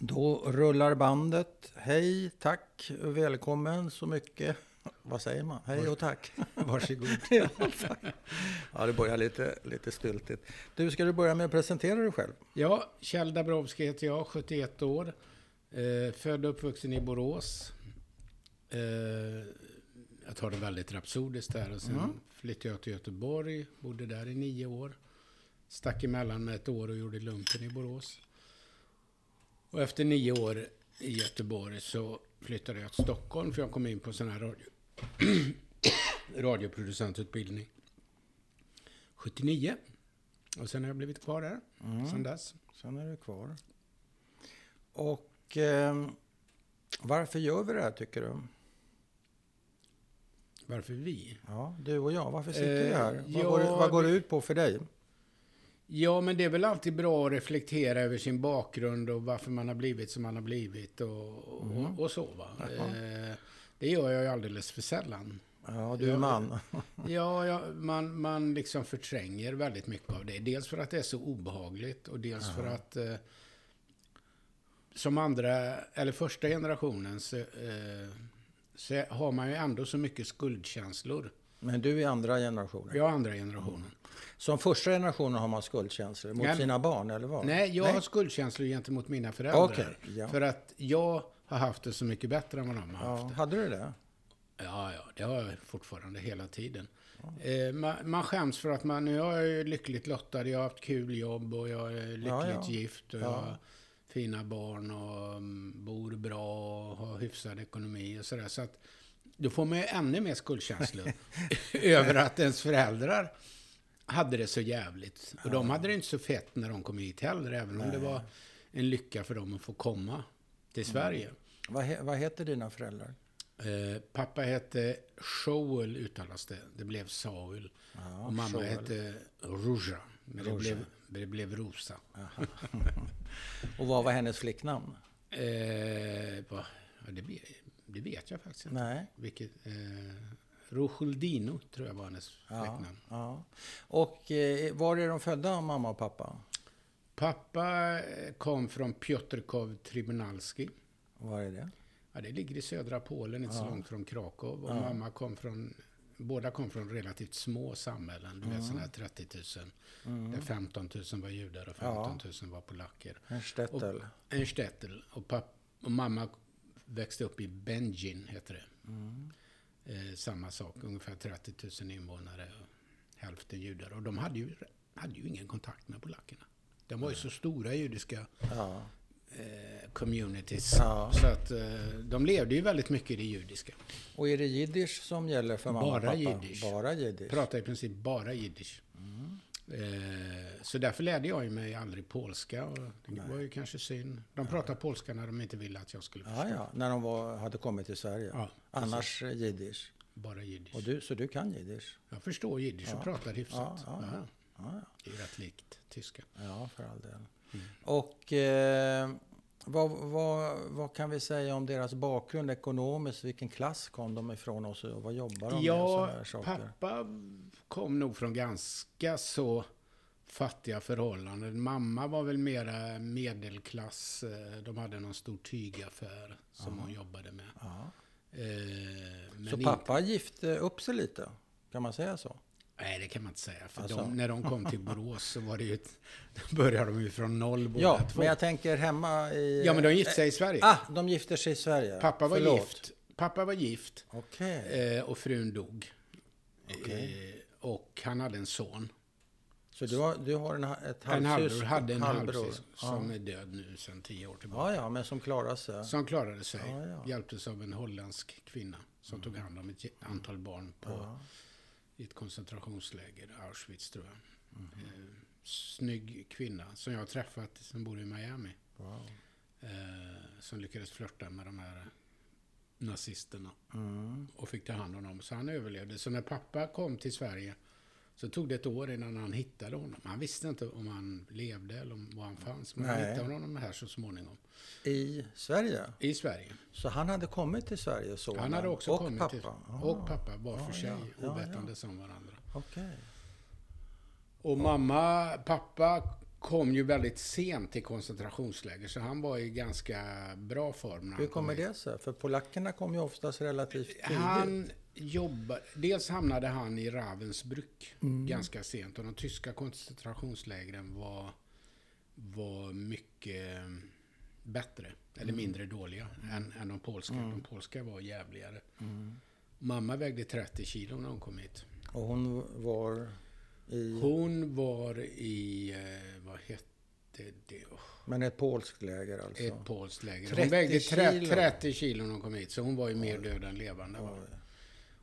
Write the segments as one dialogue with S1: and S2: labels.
S1: Då rullar bandet. Hej, tack, välkommen så mycket. Vad säger man? Hej och tack.
S2: Varsågod.
S1: ja, tack. ja, det börjar lite, lite styltigt. Du, ska du börja med att presentera dig själv?
S2: Ja, Kjell Dabrowski heter jag, 71 år. Eh, född och uppvuxen i Borås. Eh, jag tar det väldigt rapsodiskt där. Och sen flyttade jag till Göteborg, bodde där i nio år. Stack emellan med ett år och gjorde lumpen i Borås. Och efter nio år i Göteborg så flyttade jag till Stockholm för jag kom in på sån här radio radioproducentutbildning. 79. Och sen har jag blivit kvar där sen dess.
S1: Sen är du kvar. Och eh, varför gör vi det här, tycker du?
S2: Varför vi?
S1: Ja, du och jag, varför sitter vi här?
S2: Eh,
S1: Vad,
S2: ja,
S1: går, det- vad går det
S2: det-
S1: ut på för dig?
S2: Ja, men det är väl alltid bra att reflektera över sin bakgrund och varför man har blivit som man har blivit och, och, och så. Va? Eh, det gör jag ju alldeles för sällan.
S1: Ja, du är
S2: Ja,
S1: man.
S2: Ja, ja man, man liksom förtränger väldigt mycket av det. Dels för att det är så obehagligt och dels för att eh, som andra, eller första generationen, så, eh, så har man ju ändå så mycket skuldkänslor.
S1: Men du är andra generationen.
S2: Jag är andra generationen.
S1: Som första generationen har man skuldkänslor mot
S2: Nej, men-
S1: sina barn, eller vad?
S2: Nej, jag har skuldkänslor gentemot mina föräldrar.
S1: Okej, ja.
S2: För att jag har haft det så mycket bättre än vad de har
S1: Ja,
S2: haft.
S1: hade du det?
S2: Ja, ja, det har jag fortfarande hela tiden. Eh, man, man skäms för att man, nu är jag ju lyckligt lottad, jag har haft kul jobb och jag är lyckligt
S1: Ja, ja.
S2: gift och jag har fina barn och mm, bor bra och har hyfsad ekonomi och sådär. Så att då får man ju ännu mer skuldkänslor över att ens föräldrar hade det så jävligt. Och de hade det inte så fett när de kom hit heller, även om det var en lycka för dem att få komma till
S1: Mm.
S2: Sverige.
S1: Vad, he, vad heter dina föräldrar?
S2: Eh, pappa hette Shoel uttalas det. Det blev Saul. och mamma hette Ruja. Men det blev, det blev Rosa.
S1: Och vad var hennes flicknamn?
S2: Eh, va? ja, det, vet- det vet jag faktiskt inte.
S1: Nej.
S2: Vilket, eh, Rojuldino tror jag var hennes fläcknamn.
S1: Ja. Och eh, var är de födda, mamma och pappa?
S2: Pappa eh, kom från Piotrkov Tribunalski.
S1: Var är det?
S2: Ja, det ligger i södra Polen, inte så långt från Krakow. Och mamma kom från, båda kom från relativt små samhällen. Du vet sådana här 30 000. Där 15 000 var judar och 15 000 var polacker.
S1: Stettel.
S2: Och, en shtetl. Och, papp, och mamma växte upp i Benjin, heter det. Eh, samma sak, ungefär 30 000 invånare. Och hälften judar. Och de hade ju, hade ju ingen kontakt med polackerna. De var ju så stora judiska
S1: Ja.
S2: eh, communities.
S1: Ja.
S2: Så att eh, de levde ju väldigt mycket i det judiska.
S1: Och är det jiddisch som gäller för mamma
S2: Bara
S1: och pappa?
S2: jiddisch.
S1: Bara jiddisch.
S2: Pratade i princip bara jiddisch.
S1: Mm.
S2: Eh, så därför lärde jag ju mig aldrig polska. Och det var ju kanske synd. De pratade polska när de inte ville att jag skulle
S1: Ja, ja, när de var, hade kommit till Sverige.
S2: Ja,
S1: Annars jiddisch.
S2: bara jiddisch.
S1: Och du, så du kan jiddisch?
S2: Jag förstår jiddisch och pratar hyfsat.
S1: ja,
S2: Ja.
S1: Ja, ja.
S2: Det är ju rätt likt tyska.
S1: Ja, för all del.
S2: Mm.
S1: Och eh, vad, vad, vad kan vi säga om deras bakgrund ekonomiskt? Vilken klass kom de ifrån och, så, och vad jobbar de med? Och
S2: Ja,
S1: sådana här saker?
S2: pappa kom nog från ganska så fattiga förhållanden. Mamma var väl mera medelklass. Eh, De hade någon stor tygaffär som hon jobbade med.
S1: Ja.
S2: Eh, Men
S1: Så
S2: in-
S1: pappa gifte upp sig lite? Kan man säga så?
S2: Nej, det kan man inte säga. För
S1: Alltså.
S2: de, när de kom till Borås så var det ju... ett- Då började de ju från noll båda
S1: Ja,
S2: två.
S1: men jag tänker hemma i...
S2: ja, men de gifte sig i Sverige.
S1: Ah, de gifter sig i Sverige.
S2: pappa var
S1: Förlåt.
S2: gift. Pappa var gift
S1: Okej.
S2: eh, och frun dog.
S1: Okej.
S2: Eh, Och han hade en son.
S1: Så du har, du har en, ha- ett
S2: En halvbror
S1: halvsyster-
S2: hade en
S1: halvbror.
S2: halvbror som är död nu sedan tio år tillbaka.
S1: Ja, ja, men som klarar sig.
S2: Som klarade sig.
S1: Ja, ja.
S2: Hjälptes av en holländsk kvinna som tog hand om ett ge- antal barn på, i ett koncentrationsläger, Auschwitz tror jag. Eh, snygg kvinna som jag har träffat som bor i Miami.
S1: Wow.
S2: Eh, som lyckades flörta med de här nazisterna
S1: Mm.
S2: och fick ta hand om dem. Så han överlevde. Så när pappa kom till Sverige så tog det ett år innan han hittade honom. Han visste inte om han levde eller om var han fanns. Men han
S1: Nej.
S2: hittade honom här så småningom.
S1: I Sverige?
S2: I Sverige.
S1: Så han hade kommit till Sverige, sonen?
S2: Han hade också
S1: och
S2: kommit
S1: pappa.
S2: till...
S1: Ah,
S2: Och pappa var för sig,
S1: ja, ja,
S2: ovetandes om varandra.
S1: Okej.
S2: Och mamma, pappa kom ju väldigt sent till koncentrationsläger, så han var i ganska bra form. När
S1: Hur
S2: han kom
S1: kommer
S2: hit.
S1: det sig? För polackerna kom ju oftast relativt tidigt.
S2: Han jobbade... Dels hamnade han i Ravensbrück ganska sent och de tyska koncentrationslägren var, var mycket eh, bättre, eller mindre dåliga, än, än de polska. De polska var jävligare. Mamma vägde 30 kilo när hon kom hit.
S1: Och hon var i...
S2: Hon var i, eh, vad hette det? Åh,
S1: Men ett polskt läger alltså?
S2: Ett polskt läger.
S1: 30
S2: Hon vägde tre-
S1: kilo.
S2: 30 kilo när hon kom hit, så hon var ju mer död än levande. va?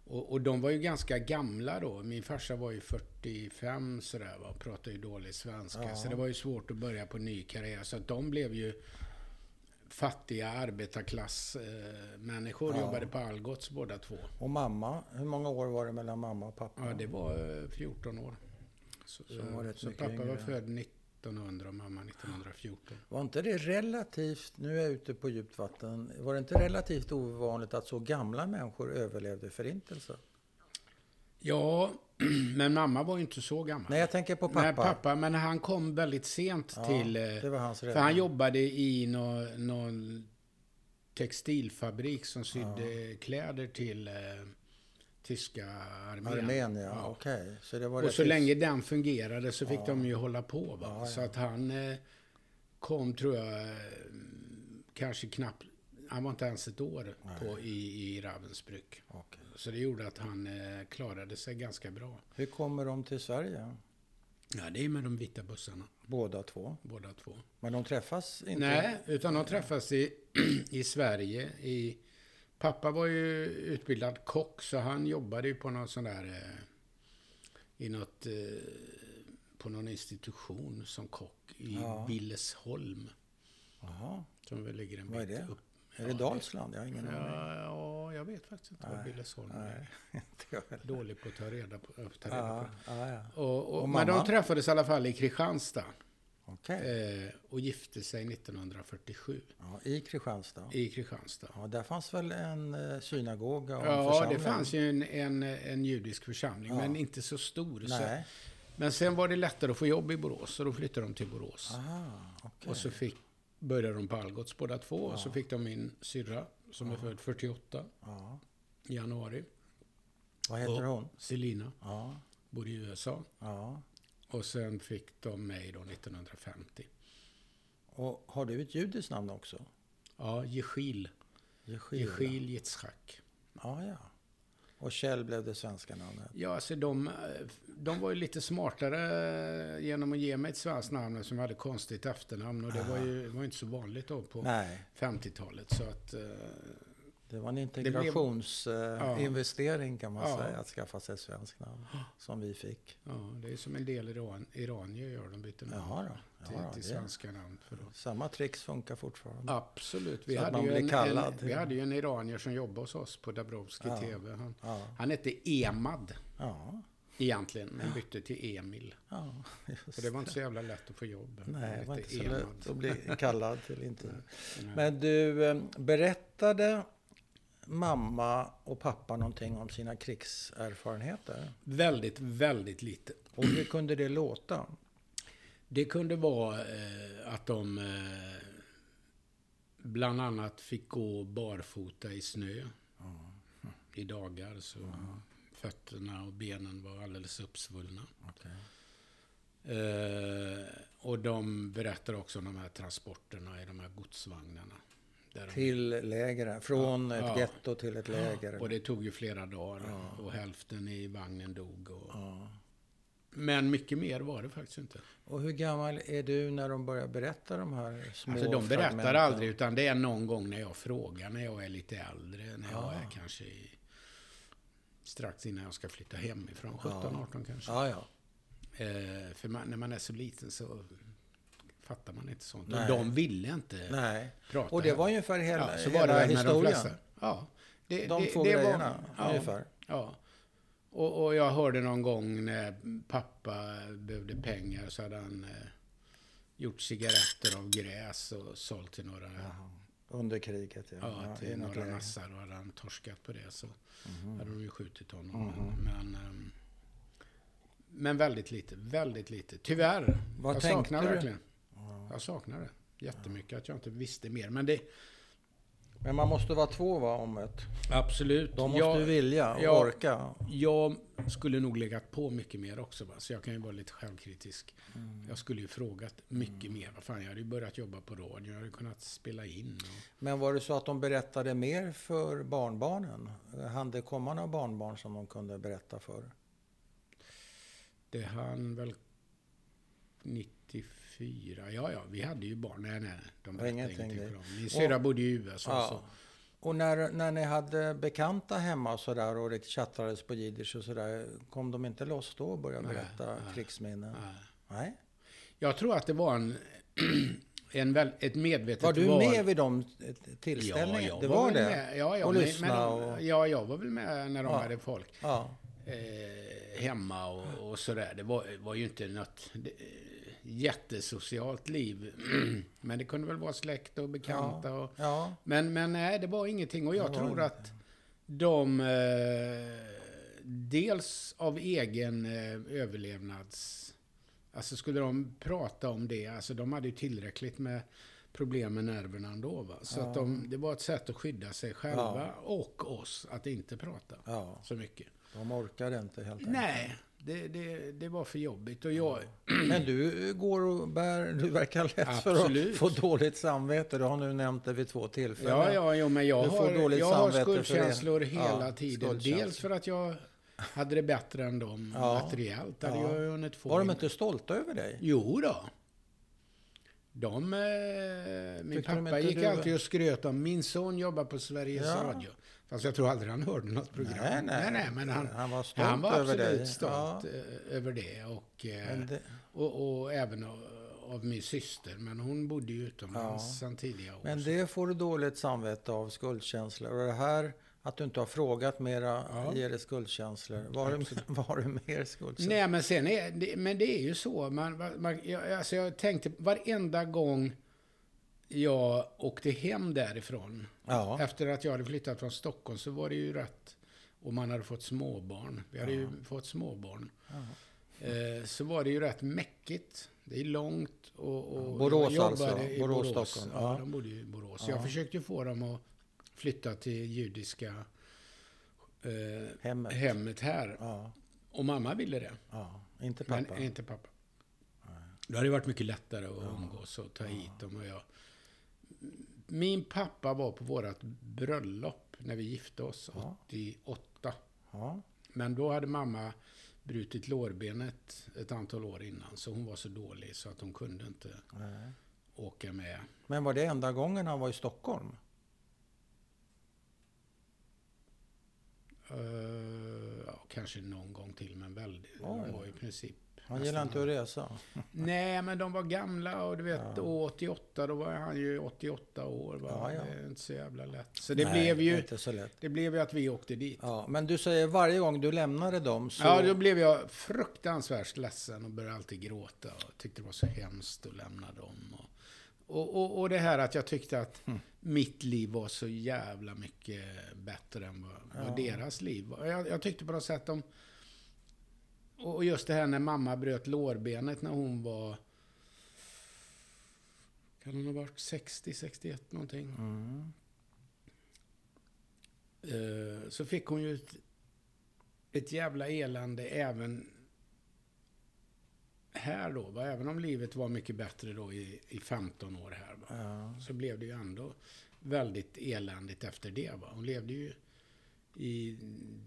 S2: Och, och de var ju ganska gamla då. Min farsa var ju 45 sådär va, och pratade ju dålig svenska. Så det var ju svårt att börja på ny karriär. Så att de blev ju fattiga arbetarklassmänniskor. Eh, människor. Jobbade på Algots båda två.
S1: Och mamma, hur många år var det mellan mamma och pappa?
S2: Ja, det var eh, 14 år. Så,
S1: hon var
S2: så,
S1: rätt
S2: så
S1: mycket
S2: pappa var
S1: yngre.
S2: född 1900 och mamma 1914.
S1: Var inte det relativt, nu är jag ute på djupt vatten, var det inte relativt ovanligt att så gamla människor överlevde förintelsen?
S2: Ja, men mamma var ju inte så gammal.
S1: Nej, jag tänker på pappa.
S2: Nej, pappa. Men han kom väldigt sent
S1: Ja,
S2: till... eh,
S1: det var hans
S2: För han
S1: räddning.
S2: jobbade i någon, någon textilfabrik som sydde kläder till eh, tyska armén.
S1: Armén, ja. Okej. Så det var
S2: Och
S1: rätt
S2: så
S1: hyfs-
S2: länge den fungerade så fick de ju hålla på. Va? Så att han eh, kom, tror jag, eh, kanske knappt... Han var inte ens ett år på, i, i Ravensbrück.
S1: Okej.
S2: Så det gjorde att han eh, klarade sig ganska bra.
S1: Hur kommer de till Sverige?
S2: Ja, det är med de vita bussarna,
S1: Båda två.
S2: båda två.
S1: Men de träffas inte?
S2: Nej, utan de träffas i, i Sverige. I, pappa var ju utbildad kock, så han jobbade ju på någon sån där... Eh, I något... Eh, på någon institution som kock i Billesholm.
S1: Jaha.
S2: Som väl ligger en bit
S1: Vad är det?
S2: upp.
S1: Är det Dalsland? Jag har ingen aning.
S2: Ja, ja, jag vet faktiskt inte vad Billesholm är.
S1: Inte jag heller.
S2: Dålig på att ta reda på, att ta reda
S1: Ja, ja, ja.
S2: på. Och, och,
S1: Och
S2: men de
S1: mamma?
S2: träffades i alla fall i Kristianstad
S1: Okej.
S2: eh, och gifte sig 1947
S1: Ja, I Kristianstad?
S2: i Kristianstad.
S1: Ja, där fanns väl en eh, synagoga och en
S2: Ja,
S1: församling?
S2: det fanns ju en, en, en judisk församling, men inte så stor. Så.
S1: Nej.
S2: Men sen var det lättare att få jobb i Borås, så då flyttade de till Borås.
S1: Aha, Ah, okej.
S2: Och så fick, började de på Algots båda två, och så fick de min syrra, som är född 48,
S1: Ja.
S2: i januari.
S1: Vad heter
S2: Och-
S1: hon?
S2: Selina,
S1: Ja,
S2: bor i USA.
S1: ja.
S2: Och sen fick de mig då 1950.
S1: Och har du ett judiskt namn också?
S2: Ja, Jechil.
S1: Jechil.
S2: Jechil Yitzhak.
S1: Ja, ja. Och Kjell blev det svenska namnet.
S2: Ja, alltså de, eh, de var ju lite smartare genom att ge mig ett svenskt namn som hade konstigt efternamn och det var ju var ju inte så vanligt då på
S1: Nej,
S2: 50-talet. Så att, eh,
S1: det var en
S2: blev- Ja.
S1: integrationsinvestering kan man
S2: Ja.
S1: säga, att skaffa sig ett svenskt namn. Som vi fick.
S2: ja, det är som en del Iran, iranier gör, de byter namn
S1: Jaha då.
S2: till,
S1: Jaha då
S2: till
S1: det.
S2: svenska namn. För då.
S1: Samma tricks funkar fortfarande.
S2: Absolut. Vi
S1: Så att
S2: hade,
S1: man
S2: ju
S1: blir
S2: en, en,
S1: kallad.
S2: vi hade ju en iranier som jobbade hos oss på Dabrowski TV. Han,
S1: Ja,
S2: han hette Emad
S1: ja.
S2: egentligen, men bytte till Emil.
S1: ja. just
S2: Och det var inte så jävla lätt att få jobb.
S1: Nej,
S2: Han
S1: det var
S2: hette
S1: inte så
S2: Emad.
S1: lätt att bli kallad till intervju. Men du, eh, berättade mamma och pappa någonting om sina krigserfarenheter?
S2: Väldigt, väldigt lite.
S1: Och hur kunde det låta?
S2: Det kunde vara eh, att de eh, bland annat fick gå barfota i snö i dagar. Så fötterna och benen var alldeles uppsvullna. Eh, och de berättar också om de här transporterna i de här godsvagnarna. Där de,
S1: Till lägren, från ett
S2: Ja.
S1: getto till ett läger.
S2: och det tog ju flera dagar och hälften i vagnen dog. Och,
S1: Ja.
S2: Men mycket mer var det faktiskt inte.
S1: Och hur gammal är du när de börjar berätta de här små
S2: Alltså de berättar
S1: fragmenten?
S2: aldrig, utan det är någon gång när jag frågar, när jag är lite äldre, när jag är kanske i, strax innan jag ska flytta hemifrån, 17, 18 kanske.
S1: Ja, ja.
S2: Eh, för man, när man är så liten så fattar man inte sånt.
S1: Nej.
S2: Och de ville inte
S1: Nej.
S2: prata.
S1: Och det var ungefär hela,
S2: ja, så var
S1: hela
S2: det väl med de
S1: historien.
S2: flesta. Ja, det,
S1: De
S2: det,
S1: två
S2: det var-
S1: grejerna,
S2: ja,
S1: ungefär.
S2: Ja. Och, och jag hörde någon gång när pappa behövde pengar så hade han eh, gjort cigaretter av gräs och sålt till några,
S1: Under kriget, ja.
S2: ja,
S1: i
S2: till
S1: något
S2: några
S1: läger.
S2: nassar och hade han
S1: Mm.
S2: torskat på det så hade de ju skjutit honom. Men, men, ehm, Men väldigt lite, väldigt lite. Tyvärr.
S1: Vad
S2: jag
S1: tänkte
S2: saknar
S1: du?
S2: verkligen. Jag saknar det jättemycket att jag inte visste mer. Men det...
S1: Men man måste vara två va, om ett.
S2: Absolut.
S1: De måste ju
S2: jag,
S1: vilja och
S2: ja.
S1: orka.
S2: jag skulle nog legat på mycket mer också. Va? Så jag kan ju vara lite självkritisk.
S1: Mm.
S2: Jag skulle ju frågat mycket mer. Vad fan, jag hade ju börjat jobba på radio. Jag hade kunnat spela in. Och...
S1: Men var det så att de berättade mer för barnbarnen? Hann det komma några barnbarn som de kunde berätta för?
S2: Det hann väl 94. Ja, ja, vi hade ju barn. Nej, nej, de berättade
S1: Ingenting,
S2: ingenting,
S1: det-
S2: för dem. Min syrra bodde i USA. Så.
S1: Och när, när ni hade bekanta hemma och sådär och det tjattades på jiddisch och sådär, kom de inte loss då och började berätta krigsminnen?
S2: Nej.
S1: Nej.
S2: Jag tror att det var en, en väl, ett medvetet
S1: Var du
S2: val.
S1: med vid de t- tillställningarna?
S2: Ja, jag
S1: det
S2: var,
S1: var
S2: väl
S1: det?
S2: Med, ja, ja,
S1: Och
S2: men-
S1: lyssna
S2: men,
S1: och-
S2: ja, jag var väl med när de
S1: Ja.
S2: hade folk
S1: Ja.
S2: eh, hemma och, och sådär. Det var, var ju inte något det, eh, jättesocialt liv. men det kunde väl vara släkt och bekanta. Och,
S1: ja.
S2: men, men nej, det var ingenting. Och jag
S1: Det var
S2: tror att de... Eh, dels av egen eh, överlevnads... Alltså skulle de prata om det, alltså de hade ju tillräckligt med problem med nerverna ändå. Va? Så att de, det var ett sätt att skydda sig själva och oss att inte prata
S1: Ja,
S2: så mycket.
S1: de orkade inte helt enkelt.
S2: Nej, det, det, det var för jobbigt. Och jag,
S1: Men du går och bär, du verkar lätt
S2: Absolut.
S1: för att få dåligt samvete. Du har nu nämnt det vid två tillfällen.
S2: Ja, ja, jo, men jag
S1: Du får
S2: har,
S1: dåligt
S2: jag har
S1: samvete för det.
S2: skuldkänslor
S1: Ja,
S2: hela tiden.
S1: skuldkänslor.
S2: Dels för att jag hade det bättre än dem
S1: Ja.
S2: materiellt. Hade
S1: Ja.
S2: jag ju hunnit få
S1: Var de
S2: in-
S1: inte stolta över dig?
S2: Jo då. De, eh, min
S1: Tyckte de
S2: pappa
S1: inte
S2: gick
S1: du-
S2: alltid och skröt om min son jobbar på Sveriges
S1: Ja.
S2: Radio. Fast jag tror aldrig han hörde något program.
S1: Nej, nej.
S2: men han,
S1: Han var stolt
S2: han var
S1: över
S2: absolut
S1: dig.
S2: stolt eh, över det. Och, eh,
S1: Men det,
S2: och, och även av, av min syster. Men hon bodde ju utomlands sedan tidiga år.
S1: men det får du dåligt samvete av, skuldkänslor. Och det här att du inte har frågat mera ger dig skuldkänslor. Var du, var du mer skuldkänslor?
S2: Nej, men sen är det, men det är ju så. Man, man, jag, alltså jag tänkte varenda gång jag åkte hem därifrån.
S1: Ja.
S2: Efter att jag hade flyttat från Stockholm så var det ju rätt. Och man hade fått småbarn. Vi hade ju fått småbarn. Eh, så var det ju rätt mäckigt. Det är långt och... och
S1: Borås
S2: jag
S1: alltså.
S2: jobbade i
S1: Borås, Stockholm.
S2: Ja,
S1: Ja.
S2: de bodde ju i Borås. Jag försökte ju få dem att flytta till judiska eh,
S1: Hemmet.
S2: hemmet här.
S1: Ja,
S2: Och mamma ville det.
S1: ja. Inte
S2: Men
S1: pappa.
S2: inte pappa. Då hade det varit mycket lättare att umgås och ta hit dem och jag. Min pappa var på vårt bröllop när vi gifte oss 88.
S1: Ja.
S2: Men då hade mamma brutit lårbenet ett antal år innan. Så hon var så dålig så att hon kunde inte
S1: Nej.
S2: åka med.
S1: Men var det enda gången han var i Stockholm?
S2: Eh, ja, kanske någon gång till men väldigt.
S1: Oj.
S2: Hon var i princip
S1: Han gillar inte att resa.
S2: Nej, men de var gamla och du vet, och 88, då var han ju 88 år. Va?
S1: Ja, ja.
S2: Det är inte så jävla lätt. Så det,
S1: Nej,
S2: blev ju,
S1: Inte så lätt.
S2: det blev ju att vi åkte dit.
S1: Ja, men du säger varje gång du lämnade dem så...
S2: Ja, då blev jag fruktansvärt ledsen och började alltid gråta och tyckte det var så hemskt att lämna dem. Och, och, och, och det här att jag tyckte att mitt liv var så jävla mycket bättre än vad, vad deras liv var. Jag, jag tyckte på något sätt de... Och och just det här när mamma bröt lårbenet när hon var... Kan hon ha varit 60, 61 någonting?
S1: Mm.
S2: Eh, så fick hon ju ett, ett jävla elände även här då. Va? Även om livet var mycket bättre då i, i 15 år här. Va?
S1: Ja.
S2: Så blev det ju ändå väldigt eländigt efter det. Va? Hon levde ju i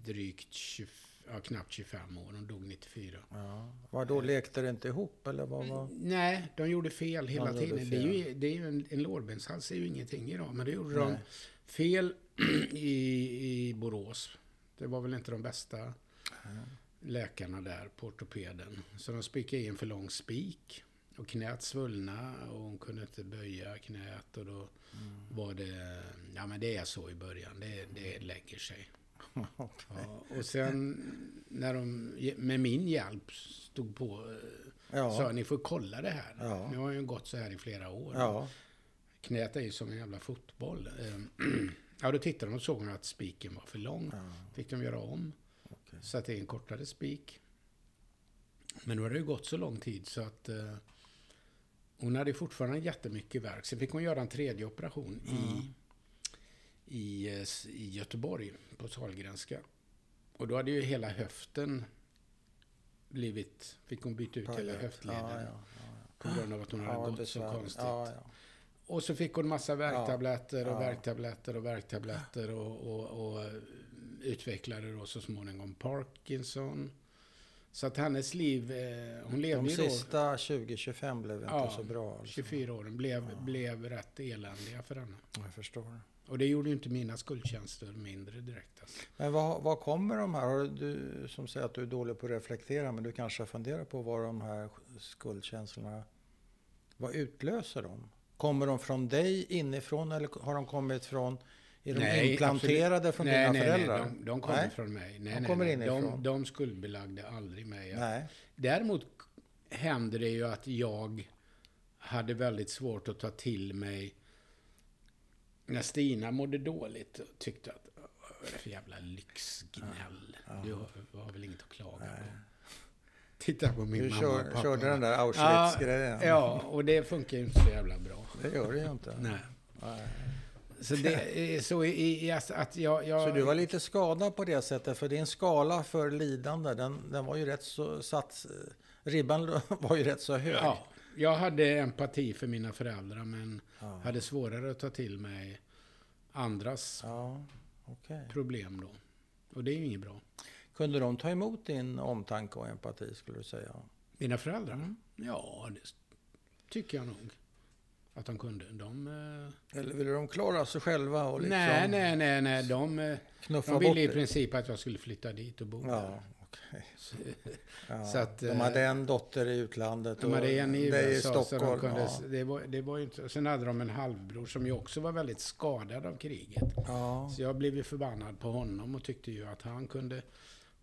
S2: drygt 20, ja, knappt 25 år. Hon dog 94.
S1: Ja. Var
S2: Eh.
S1: då lekte det inte ihop eller vad var...
S2: Nej, de gjorde fel hela
S1: gjorde
S2: tiden. Det är
S1: fel.
S2: ju, det är ju en, en lårbenshals är ju ingenting idag, men det gjorde de fel i, i Borås. Det var väl inte de bästa läkarna där på ortopeden. Så de spikade i en för lång spik och knät svullna och hon kunde inte böja knät och då var det... Ja, men det är så i början. Det, det lägger sig. Ja, och sen när de ge- med min hjälp stod på eh,
S1: Ja.
S2: Sa ni får kolla det här.
S1: Ja.
S2: Nu har ju gått så här i flera år.
S1: Ja.
S2: Knät är ju som en jävla fotboll. Ehm, ja, då tittade de och såg att spiken var för lång. Fick de göra om.
S1: Okej.
S2: Satte in kortare spik. Men nu har det ju gått så lång tid så att eh, hon hade ju fortfarande jättemycket verk. Sen fick hon göra en tredje operation i,
S1: Mm.
S2: i, eh, s- i Göteborg på Sahlgrenska. Och då hade ju hela höften blivit... Fick hon byta ut hela höftleden
S1: Ja, ja, ja.
S2: på grund av att hon hade
S1: Ja,
S2: gått
S1: besvär.
S2: så konstigt.
S1: Ja, ja.
S2: Och så fick hon massa värktabletter och
S1: Ja.
S2: värktabletter och värktabletter och, och, och utvecklade då så småningom Parkinson. Så att hennes liv, eh, hon levde
S1: De
S2: ju då
S1: sista 20-25 blev inte
S2: Ja,
S1: så bra. Alltså.
S2: 24 åren, blev, blev rätt eländiga för henne.
S1: Jag förstår.
S2: Och det gjorde ju inte mina skuldtjänster mindre direkt. Alltså.
S1: Men vad, vad kommer de här? Har Du som säger att du är dålig på att reflektera, men du kanske funderar på vad de här skuldkänslorna, vad utlöser de? Kommer de från dig inifrån eller har de kommit från, är de
S2: Nej,
S1: implanterade
S2: absolut.
S1: från
S2: nej,
S1: dina
S2: nej,
S1: föräldrar?
S2: Nej, de, de kommer
S1: Nej.
S2: från mig. Nej,
S1: De
S2: nej,
S1: kommer
S2: nej.
S1: inifrån.
S2: De, de skuldbelagde aldrig mig.
S1: Nej.
S2: Däremot hände det ju att jag hade väldigt svårt att ta till mig när Stina mådde dåligt. och Tyckte att, vad är det för jävla lyxgnäll? Du har, har väl inget att klaga på. Titta på min
S1: Du
S2: mamma och
S1: kör,
S2: pappa.
S1: körde den där
S2: Ja,
S1: Auschwitz-grejen.
S2: Ja, och det funkar ju inte så jävla bra.
S1: Det gör det ju inte.
S2: Nej.
S1: Nej.
S2: Så det är så i, i, alltså att jag... jag
S1: Så du var lite skadad på det sättet, för din skala för lidande, den, den var ju rätt så satt, ribban var ju rätt så hög.
S2: Ja, jag hade empati för mina föräldrar men
S1: Ja.
S2: hade svårare att ta till mig andras
S1: Ja, okej.
S2: problem då. Och det är ju inget bra.
S1: Kunde de ta emot din omtanke och empati skulle du säga?
S2: Mina föräldrar? Mm. Ja, det s- tycker jag nog att de kunde. De... eh,
S1: Eller ville de klara sig själva och liksom
S2: nej, nej, nej, nej. De, eh,
S1: knuffa
S2: de
S1: bort
S2: ville i
S1: det?
S2: princip att jag skulle flytta dit och bo där.
S1: Ja, okej.
S2: Så,
S1: Ja.
S2: Så att,
S1: de
S2: eh,
S1: hade en dotter i utlandet
S2: de hade en i
S1: dig
S2: USA, så de
S1: Stockholm.
S2: kunde,
S1: ja.
S2: det var, det var ju inte, sen hade de en halvbror som ju också var väldigt skadad av kriget.
S1: Ja.
S2: Så jag blev ju förbannad på honom och tyckte ju att han kunde...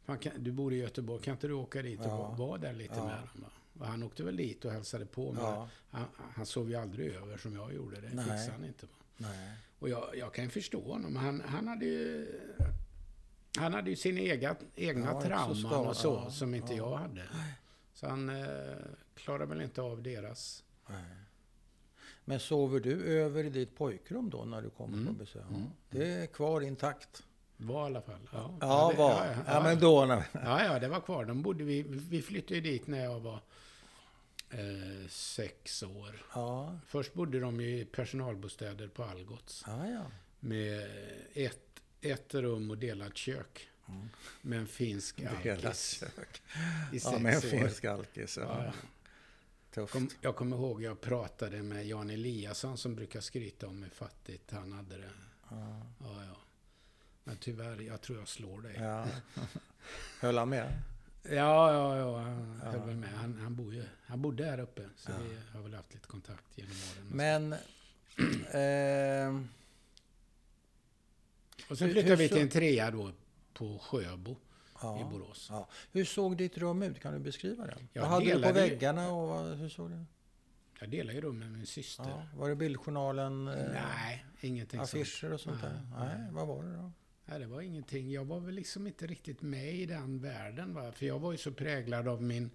S2: Fan, kan, du bor i Göteborg, kan inte du åka dit och
S1: Ja.
S2: vara- vara där lite
S1: Ja.
S2: med dem? Va? Och han åkte väl dit och hälsade på, men
S1: Ja.
S2: han, han sov ju aldrig över som jag gjorde. Det
S1: Nej.
S2: fixade han inte. Va?
S1: Nej.
S2: Och jag, jag kan ju förstå honom. Han, han hade ju... Han hade ju sina ega, egna
S1: Ja, inte så
S2: trauman och så,
S1: skada. Ja,
S2: som inte
S1: ja.
S2: jag hade. Så han eh, klarade väl inte av deras...
S1: Nej. Men sover du över i ditt pojkrum då när du kommer
S2: Mm.
S1: på besök? Ja. Det är kvar intakt?
S2: Var i alla fall. Ja,
S1: Ja,
S2: det-
S1: var. Ja, men då. när-
S2: Ja, ja, det var kvar. De bodde vi, vi flyttade ju dit när jag var eh, sex år.
S1: Ja,
S2: Först bodde de ju i personalbostäder på Algots.
S1: ja, ja.
S2: Med ett, ett rum och delat kök. Med en finsk
S1: Mm. Delat
S2: alkis
S1: kök.
S2: i sex
S1: Ja, med en
S2: år.
S1: finsk alkis.
S2: Ja,
S1: Ja.
S2: ja.
S1: Tufft.
S2: Kom, jag kommer ihåg jag pratade med Jan Eliasson som brukar skryta om hur fattigt han hade det.
S1: Ja.
S2: Ja, ja. Men tyvärr, jag tror jag slår dig.
S1: Ja. Höll han med?
S2: Ja, ja, ja. Han höll
S1: Ja.
S2: väl med. Han, han, bor ju, han bodde här uppe. Så vi har väl haft lite kontakt genom åren.
S1: Men... Eh,
S2: och sen
S1: hur-
S2: flyttade
S1: hur
S2: vi till
S1: så-
S2: en trea då på Sjöbo i
S1: ja.
S2: Borås.
S1: Ja. Hur såg ditt rum ut? Kan du beskriva det?
S2: Jag
S1: vad hade du på
S2: delade ju-
S1: väggarna och vad, hur såg det
S2: Jag delar ju rum med min syster.
S1: ja. Var det bildjournalen, eh,
S2: Nej, ingenting sånt.
S1: affischer och sånt där?
S2: Nej.
S1: Nej, vad var det då?
S2: Nej, det var ingenting. Jag var väl liksom inte riktigt med i den världen. Va? För jag var ju så präglad av min...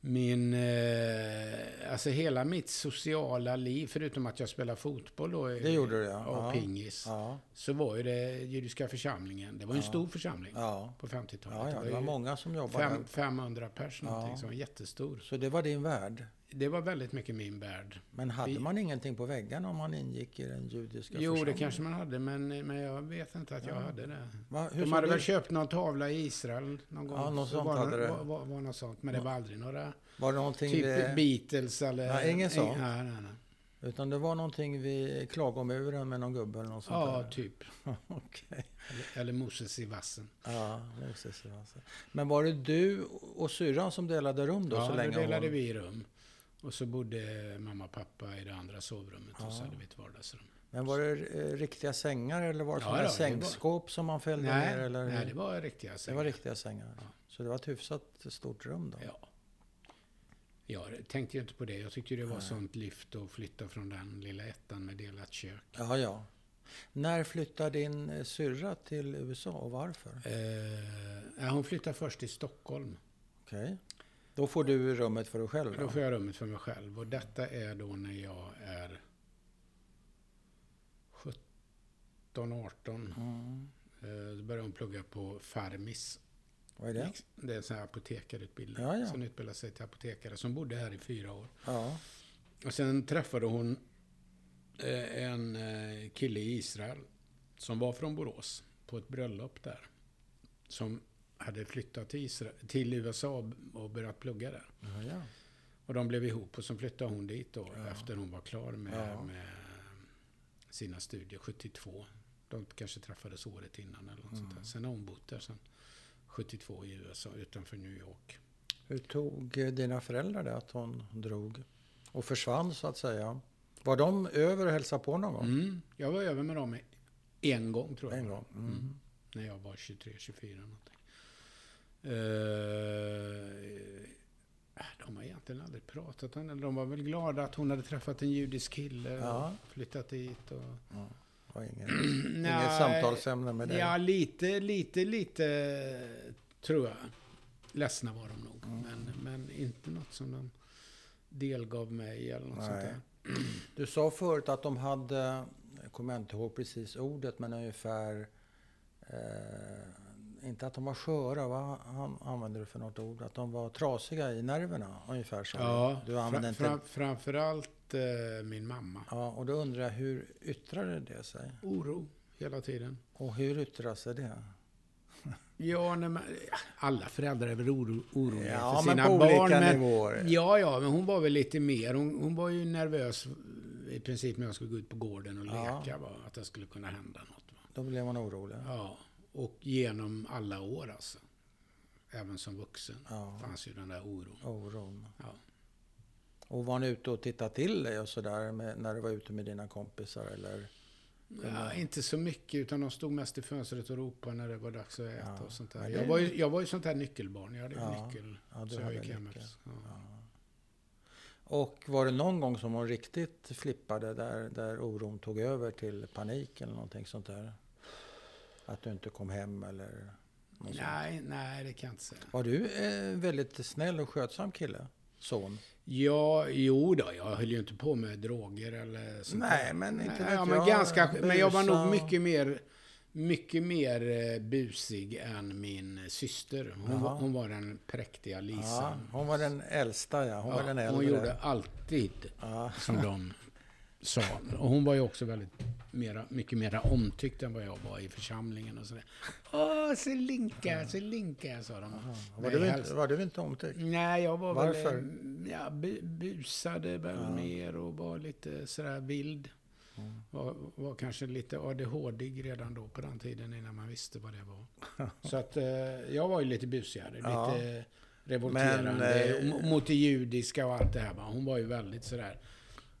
S2: Min... Eh, alltså hela mitt sociala liv, förutom att jag spelade fotboll då.
S1: Det gjorde du ja.
S2: Och
S1: Ja.
S2: pingis.
S1: Ja,
S2: så var ju det judiska församlingen. Det var ju en
S1: Ja.
S2: stor församling
S1: ja.
S2: på 50-talet.
S1: ja, ja. Det var
S2: ju
S1: många som jobbade.
S2: fem, 500 pers någonting,
S1: Ja.
S2: så det var jättestor.
S1: Så det var din värld.
S2: Det var väldigt mycket min värld.
S1: Men hade
S2: Vi-
S1: man ingenting på väggarna om man ingick i den judiska
S2: Jo, det
S1: församlingen?
S2: kanske man hade, men, men jag vet inte att jag
S1: Ja.
S2: hade det.
S1: Va? Hur
S2: De
S1: såg
S2: hade
S1: det
S2: väl
S1: ut?
S2: köpt någon tavla i Israel någon gång.
S1: Ja, något
S2: Så
S1: sånt
S2: var,
S1: hade det.
S2: Var, var, var något sånt, men det var aldrig några...
S1: Var det någonting
S2: Typ
S1: vid,
S2: Beatles eller...
S1: Nej, ingen sånt.
S2: Nej, nej, nej.
S1: Utan det var någonting vid klagomuren med någon gubbe eller något sånt
S2: Ja,
S1: där?
S2: typ.
S1: Okej.
S2: Eller, eller Moses i vassen.
S1: Ja, Moses Johansson. alltså. Men var det du och syrran som delade rum då
S2: ja,
S1: så
S2: då
S1: länge?
S2: delade
S1: hon...
S2: vi rum. Och så bodde mamma och pappa i det andra sovrummet och så
S1: Ja.
S2: hade vi ett vardagsrum.
S1: Men var det eh, riktiga sängar eller var det
S2: Ja,
S1: sådana
S2: då,
S1: där
S2: det var-
S1: sängskåp som man fällde
S2: Nej,
S1: ner? Eller?
S2: nej, det var riktiga
S1: Det
S2: sängar.
S1: var riktiga sängar.
S2: Ja.
S1: Så det var ett hyfsat stort rum då?
S2: Ja. Jag tänkte ju inte på det. Jag tyckte det var sånt lyft att flytta från den lilla ettan med delat kök.
S1: Ja, ja. När flyttade din eh, syrra till USA och varför?
S2: Eh, nej, hon flyttade först till Stockholm.
S1: Okej. Då får du rummet för dig själv?
S2: Då får jag rummet för mig själv. Och detta är då när jag är 17, 18.
S1: Mm.
S2: Eh, Då började hon plugga på Farmis.
S1: Vad är det?
S2: Det är en sån här apotekarutbildning.
S1: Ja, ja.
S2: Så hon utbildade sig till apotekare. Som bodde här i fyra år.
S1: Ja.
S2: Och sen träffade hon eh, en eh, kille i Israel som var från Borås på ett bröllop där. Som hade flyttat till, Israel, till USA och börjat plugga där.
S1: Ja, ja.
S2: Och de blev ihop och sen flyttade hon dit då
S1: Ja.
S2: efter hon var klar med,
S1: Ja.
S2: med sina studier 72. De kanske träffades året innan eller något sånt där.
S1: Mm.
S2: Sen har hon bott där sen 72 i USA utanför New York.
S1: Hur tog eh, dina föräldrar det att hon drog och försvann så att säga? Var de över och hälsade på någon gång?
S2: Mm. Jag var över med dem en gång tror jag.
S1: En gång? Mm.
S2: Mm. När jag var 23, 24 någonting. Eh, de har egentligen aldrig pratat om det. De var väl glada att hon hade träffat en judisk kille
S1: Ja.
S2: och flyttat dit. Och...
S1: Var inget, inget samtalsämne med dig?
S2: Mm. Ja, lite, lite, lite tror jag. Ledsna var de nog.
S1: Mm.
S2: Men, men inte något som de delgav mig eller något sånt
S1: Nej.
S2: där.
S1: Du sa förut att de hade, jag kommer inte ihåg precis ordet, men ungefär eh, inte att de var sköra, vad han använde du för något ord? Att de var trasiga i nerverna, ungefär så.
S2: Ja,
S1: du använde
S2: fra, fra,
S1: inte...
S2: framförallt eh, min mamma.
S1: Ja, och då undrar jag, hur yttrade det sig?
S2: Oro hela tiden.
S1: Och hur yttrar sig det?
S2: Ja, när man, alla föräldrar är väl oro, oroliga
S1: Ja,
S2: för
S1: men
S2: sina
S1: på
S2: barn.
S1: olika
S2: men,
S1: nivåer.
S2: Ja, ja, men hon var väl lite mer. Hon, hon var ju nervös i princip när jag skulle gå ut på gården och
S1: Ja.
S2: leka. Va, att det skulle kunna hända något. Va.
S1: Då blev man orolig.
S2: Ja, och genom alla år alltså. Även som vuxen
S1: Ja,
S2: fanns ju den där oron.
S1: oron.
S2: Ja.
S1: Och var ni ute och tittade till dig och sådär med- när du var ute med dina kompisar eller?
S2: Ja, inte så mycket, utan de stod mest i fönstret och ropade när det var dags att äta
S1: Ja,
S2: och sånt där.
S1: men
S2: Jag
S1: det-
S2: var, ju, jag var ju sånt här nyckelbarn. Jag hade ju
S1: Ja,
S2: nyckel.
S1: ja, du
S2: så jag
S1: hade
S2: gick hem.
S1: nyckel.
S2: efter- Ja.
S1: Och var det någon gång som hon riktigt flippade där, där oron tog över till panik eller någonting sånt där? Att du inte kom hem eller? något sånt?
S2: Nej, nej, det kan jag inte säga.
S1: Var du en väldigt snäll och skötsam kille? Son?
S2: Ja, jo då, jag höll ju inte på med droger eller sånt
S1: Nej,
S2: där.
S1: men inte vet
S2: ja, men
S1: jag.
S2: ganska, Men jag var
S1: Busa.
S2: nog mycket mer, mycket mer eh, busig än min syster. Hon, var,
S1: Jaha.
S2: hon var den präktiga
S1: Ja,
S2: Lisan.
S1: hon var den äldsta ja, hon var den äldre.
S2: hon gjorde alltid
S1: Ja,
S2: som de sa. Och hon var ju också väldigt mera, mycket mera omtyckt än vad jag var i församlingen och sådär. Åh, se Linka, se Linka, sa de.
S1: var,
S2: Nej,
S1: du
S2: helst-
S1: inte, var du inte omtyckt?
S2: Nej, jag var
S1: Varför?
S2: väl... eh, Ja, bu- busade väl mer och var lite sådär vild. Var, var kanske lite adhd redan då på den tiden innan man visste vad det var. Så att eh, jag var ju lite busigare,
S1: Ja.
S2: lite revolterande.
S1: Men, eh,
S2: och mo- mot det judiska och allt det här. va. Hon var ju väldigt sådär...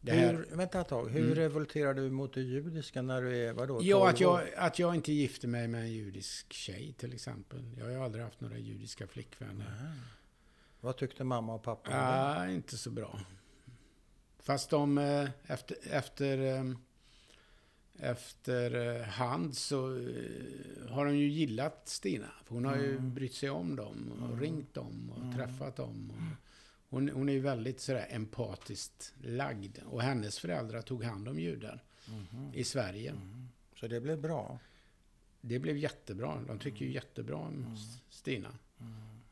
S2: Det här, Mm.
S1: Hur, vänta ett tag, hur revolterar du mot det judiska när du är, vadå,
S2: ja,
S1: 12
S2: att jag,
S1: år?
S2: att jag inte gifte mig med en judisk tjej till exempel. Jag har ju aldrig haft några judiska flickvänner.
S1: Vad tyckte mamma och pappa om det?
S2: Ja, inte så bra. Fast de eh, efter, efter, eh, efter eh, hand så eh, har de ju gillat Stina. För hon har ju brytt sig om dem och ringt dem och träffat dem. Och hon, hon är ju väldigt sådär empatiskt lagd. Och hennes föräldrar tog hand om judar i Sverige.
S1: Mm-hmm. Så det blev bra?
S2: Det blev jättebra. De tycker ju
S1: Mm.
S2: jättebra om S- Stina.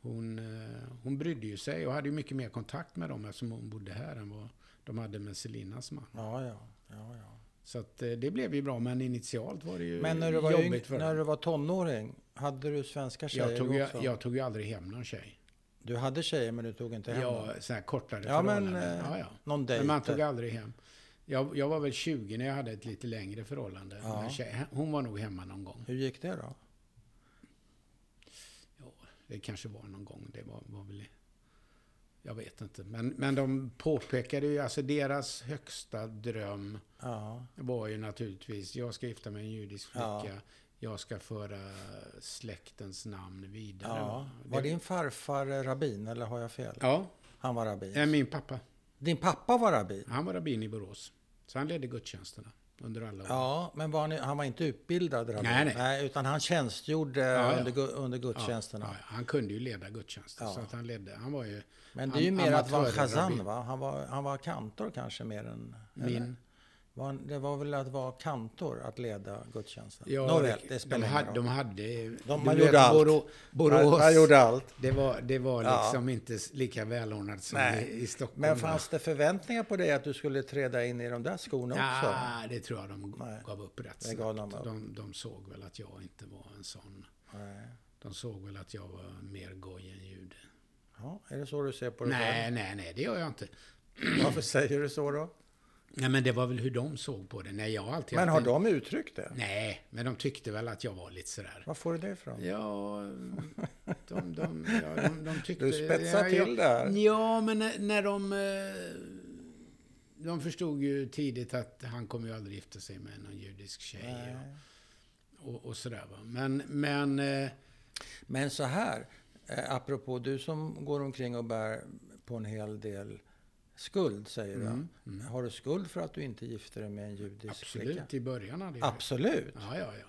S2: Hon, eh, hon brydde ju sig och hade ju mycket mer kontakt med dem eftersom hon bodde här än vad de hade med Selinas man.
S1: Ja, ja. ja, ja.
S2: Så att eh, det blev ju bra, men initialt var det ju
S1: Men när du, var
S2: jobbigt
S1: yng,
S2: för
S1: när
S2: dem.
S1: du var tonåring, hade du svenska tjejer
S2: Jag tog, ju,
S1: också?
S2: jag tog ju aldrig hem någon tjej.
S1: Du hade tjejer men du tog inte hem dem?
S2: Ja, så här kortare
S1: Ja, men,
S2: förhållanden.
S1: eh,
S2: ja, ja.
S1: Någon dejt?
S2: Men man tog aldrig hem. Jag, jag var väl 20 när jag hade ett lite längre förhållande.
S1: Ja.
S2: Men Tjej, hon var nog hemma någon gång.
S1: Hur gick det då?
S2: Ja, det kanske var någon gång. Det var, var väl... Jag vet inte. Men, men de påpekade ju, alltså deras högsta dröm
S1: Ja,
S2: var ju naturligtvis, jag ska gifta mig med en judisk
S1: Ja.
S2: flicka. Jag ska föra släktens namn vidare.
S1: ja.
S2: Det-
S1: Var din farfar eh, rabbin eller har jag fel?
S2: Ja,
S1: Han var rabbin.
S2: eh, min pappa.
S1: Din pappa var rabbin?
S2: Han var rabbin i Borås. Så han ledde gudstjänsterna. under alla år.
S1: Ja, men var han, han var inte utbildad rabbin?
S2: Nej, nej.
S1: utan han tjänstgjorde
S2: ja.
S1: Under, gu- under
S2: Ja,
S1: gudstjänsterna.
S2: ja, han kunde ju leda gudstjänster,
S1: Ja.
S2: så att han ledde. Han var ju...
S1: Men det är ju
S2: am-
S1: mer att vara
S2: amatörrabbin.
S1: Chazan, va? Han var, han var kantor kanske mer än... eller?
S2: Min.
S1: Var han, det var väl att vara kantor, att leda gudstjänsten?
S2: Ja,
S1: Nåväl, det,
S2: de
S1: spelar
S2: hade-
S1: ingen roll.
S2: De hade...
S1: De,
S2: du
S1: man
S2: vet,
S1: gjorde allt.
S2: Borå- Borås.
S1: Man, man gjorde allt.
S2: Det var, det var
S1: Ja.
S2: liksom inte s- lika välordnat som
S1: Nej.
S2: i, i Stockholm.
S1: Men fanns det förväntningar på dig att du skulle träda in i de där skorna också?
S2: Ja, det tror jag de
S1: Nej.
S2: gav upp rätt
S1: Det gav de
S2: snabbt.
S1: upp.
S2: De, de såg väl att jag inte var en sån...
S1: Nej.
S2: De såg väl att jag var mer goj än jude.
S1: Ja, är det så du ser på det?
S2: Nej, nej, nej, det gör jag inte.
S1: själv? Varför säger du så då?
S2: Nej, men det var väl hur de såg på det. Nej, jag har alltid
S1: Men
S2: haft
S1: har
S2: en-
S1: de uttryckt det?
S2: Nej, men de tyckte väl att jag var lite sådär...
S1: Var får du det ifrån?
S2: Ja, de, de, ja, de, de tyckte...
S1: Du spetsar
S2: ja,
S1: till det här.
S2: Ja, ja, men när, när de... eh, De förstod ju tidigt att han kommer ju aldrig gifta sig med någon judisk tjej
S1: Nej.
S2: och, och, och sådär va. Men, men... eh,
S1: Men så här, eh, apropå du som går omkring och bär på en hel del skuld, säger
S2: Mm,
S1: du. Har du skuld för att du inte gifte dig med en judisk flicka?
S2: Absolut, i början hade jag det.
S1: Absolut.
S2: Ja, ja, ja.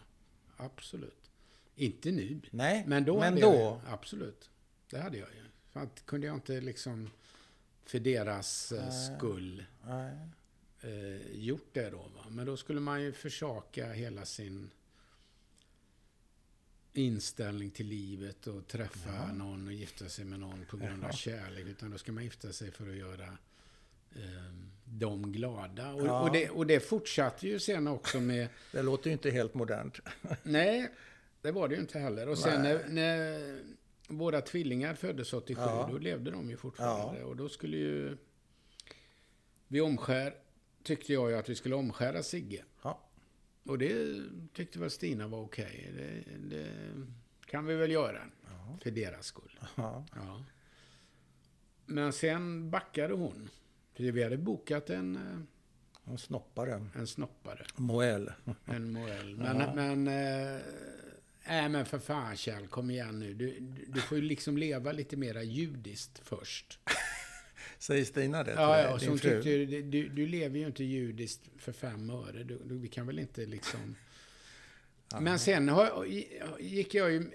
S2: Absolut. Inte nu.
S1: Nej,
S2: Men då
S1: men
S2: hade
S1: då
S2: jag det. Absolut. Det hade jag ju. För att kunde jag inte liksom för deras eh,
S1: Nej.
S2: skull
S1: Nej.
S2: eh, gjort det då. Va? Men då skulle man ju försaka hela sin inställning till livet och träffa någon och gifta sig med någon på grund av kärlek. Utan då ska man gifta sig för att göra eh, dem glada. Och,
S1: Ja.
S2: och, det, och det fortsatte ju sen också med
S1: Det låter ju inte helt modernt.
S2: Nej, det var det ju inte heller. Och sen
S1: Nej.
S2: när, när våra tvillingar föddes 87,
S1: Ja.
S2: då levde de ju fortfarande. Och då skulle ju... Vi omskär, tyckte jag ju att vi skulle omskära Sigge.
S1: Ja.
S2: Och det tyckte väl Stina var okej. Det, det kan vi väl göra. För deras skull.
S1: Ja.
S2: Ja. Men sen backade hon. För vi hade bokat en, eh,
S1: Hon snoppade.
S2: en snoppare.
S1: Moel.
S2: En Morell. Men, men... eh, Nej men för fan Kjell, kom igen nu. Du, du, du får ju liksom leva lite mera judiskt först.
S1: Säger Stina det till
S2: Ja,
S1: dig,
S2: ja, så
S1: din
S2: hon
S1: fru?
S2: tyckte ju, du- du, du lever ju inte judiskt för fem öre. Du, du, vi kan väl inte liksom... Men sen har, gick jag ju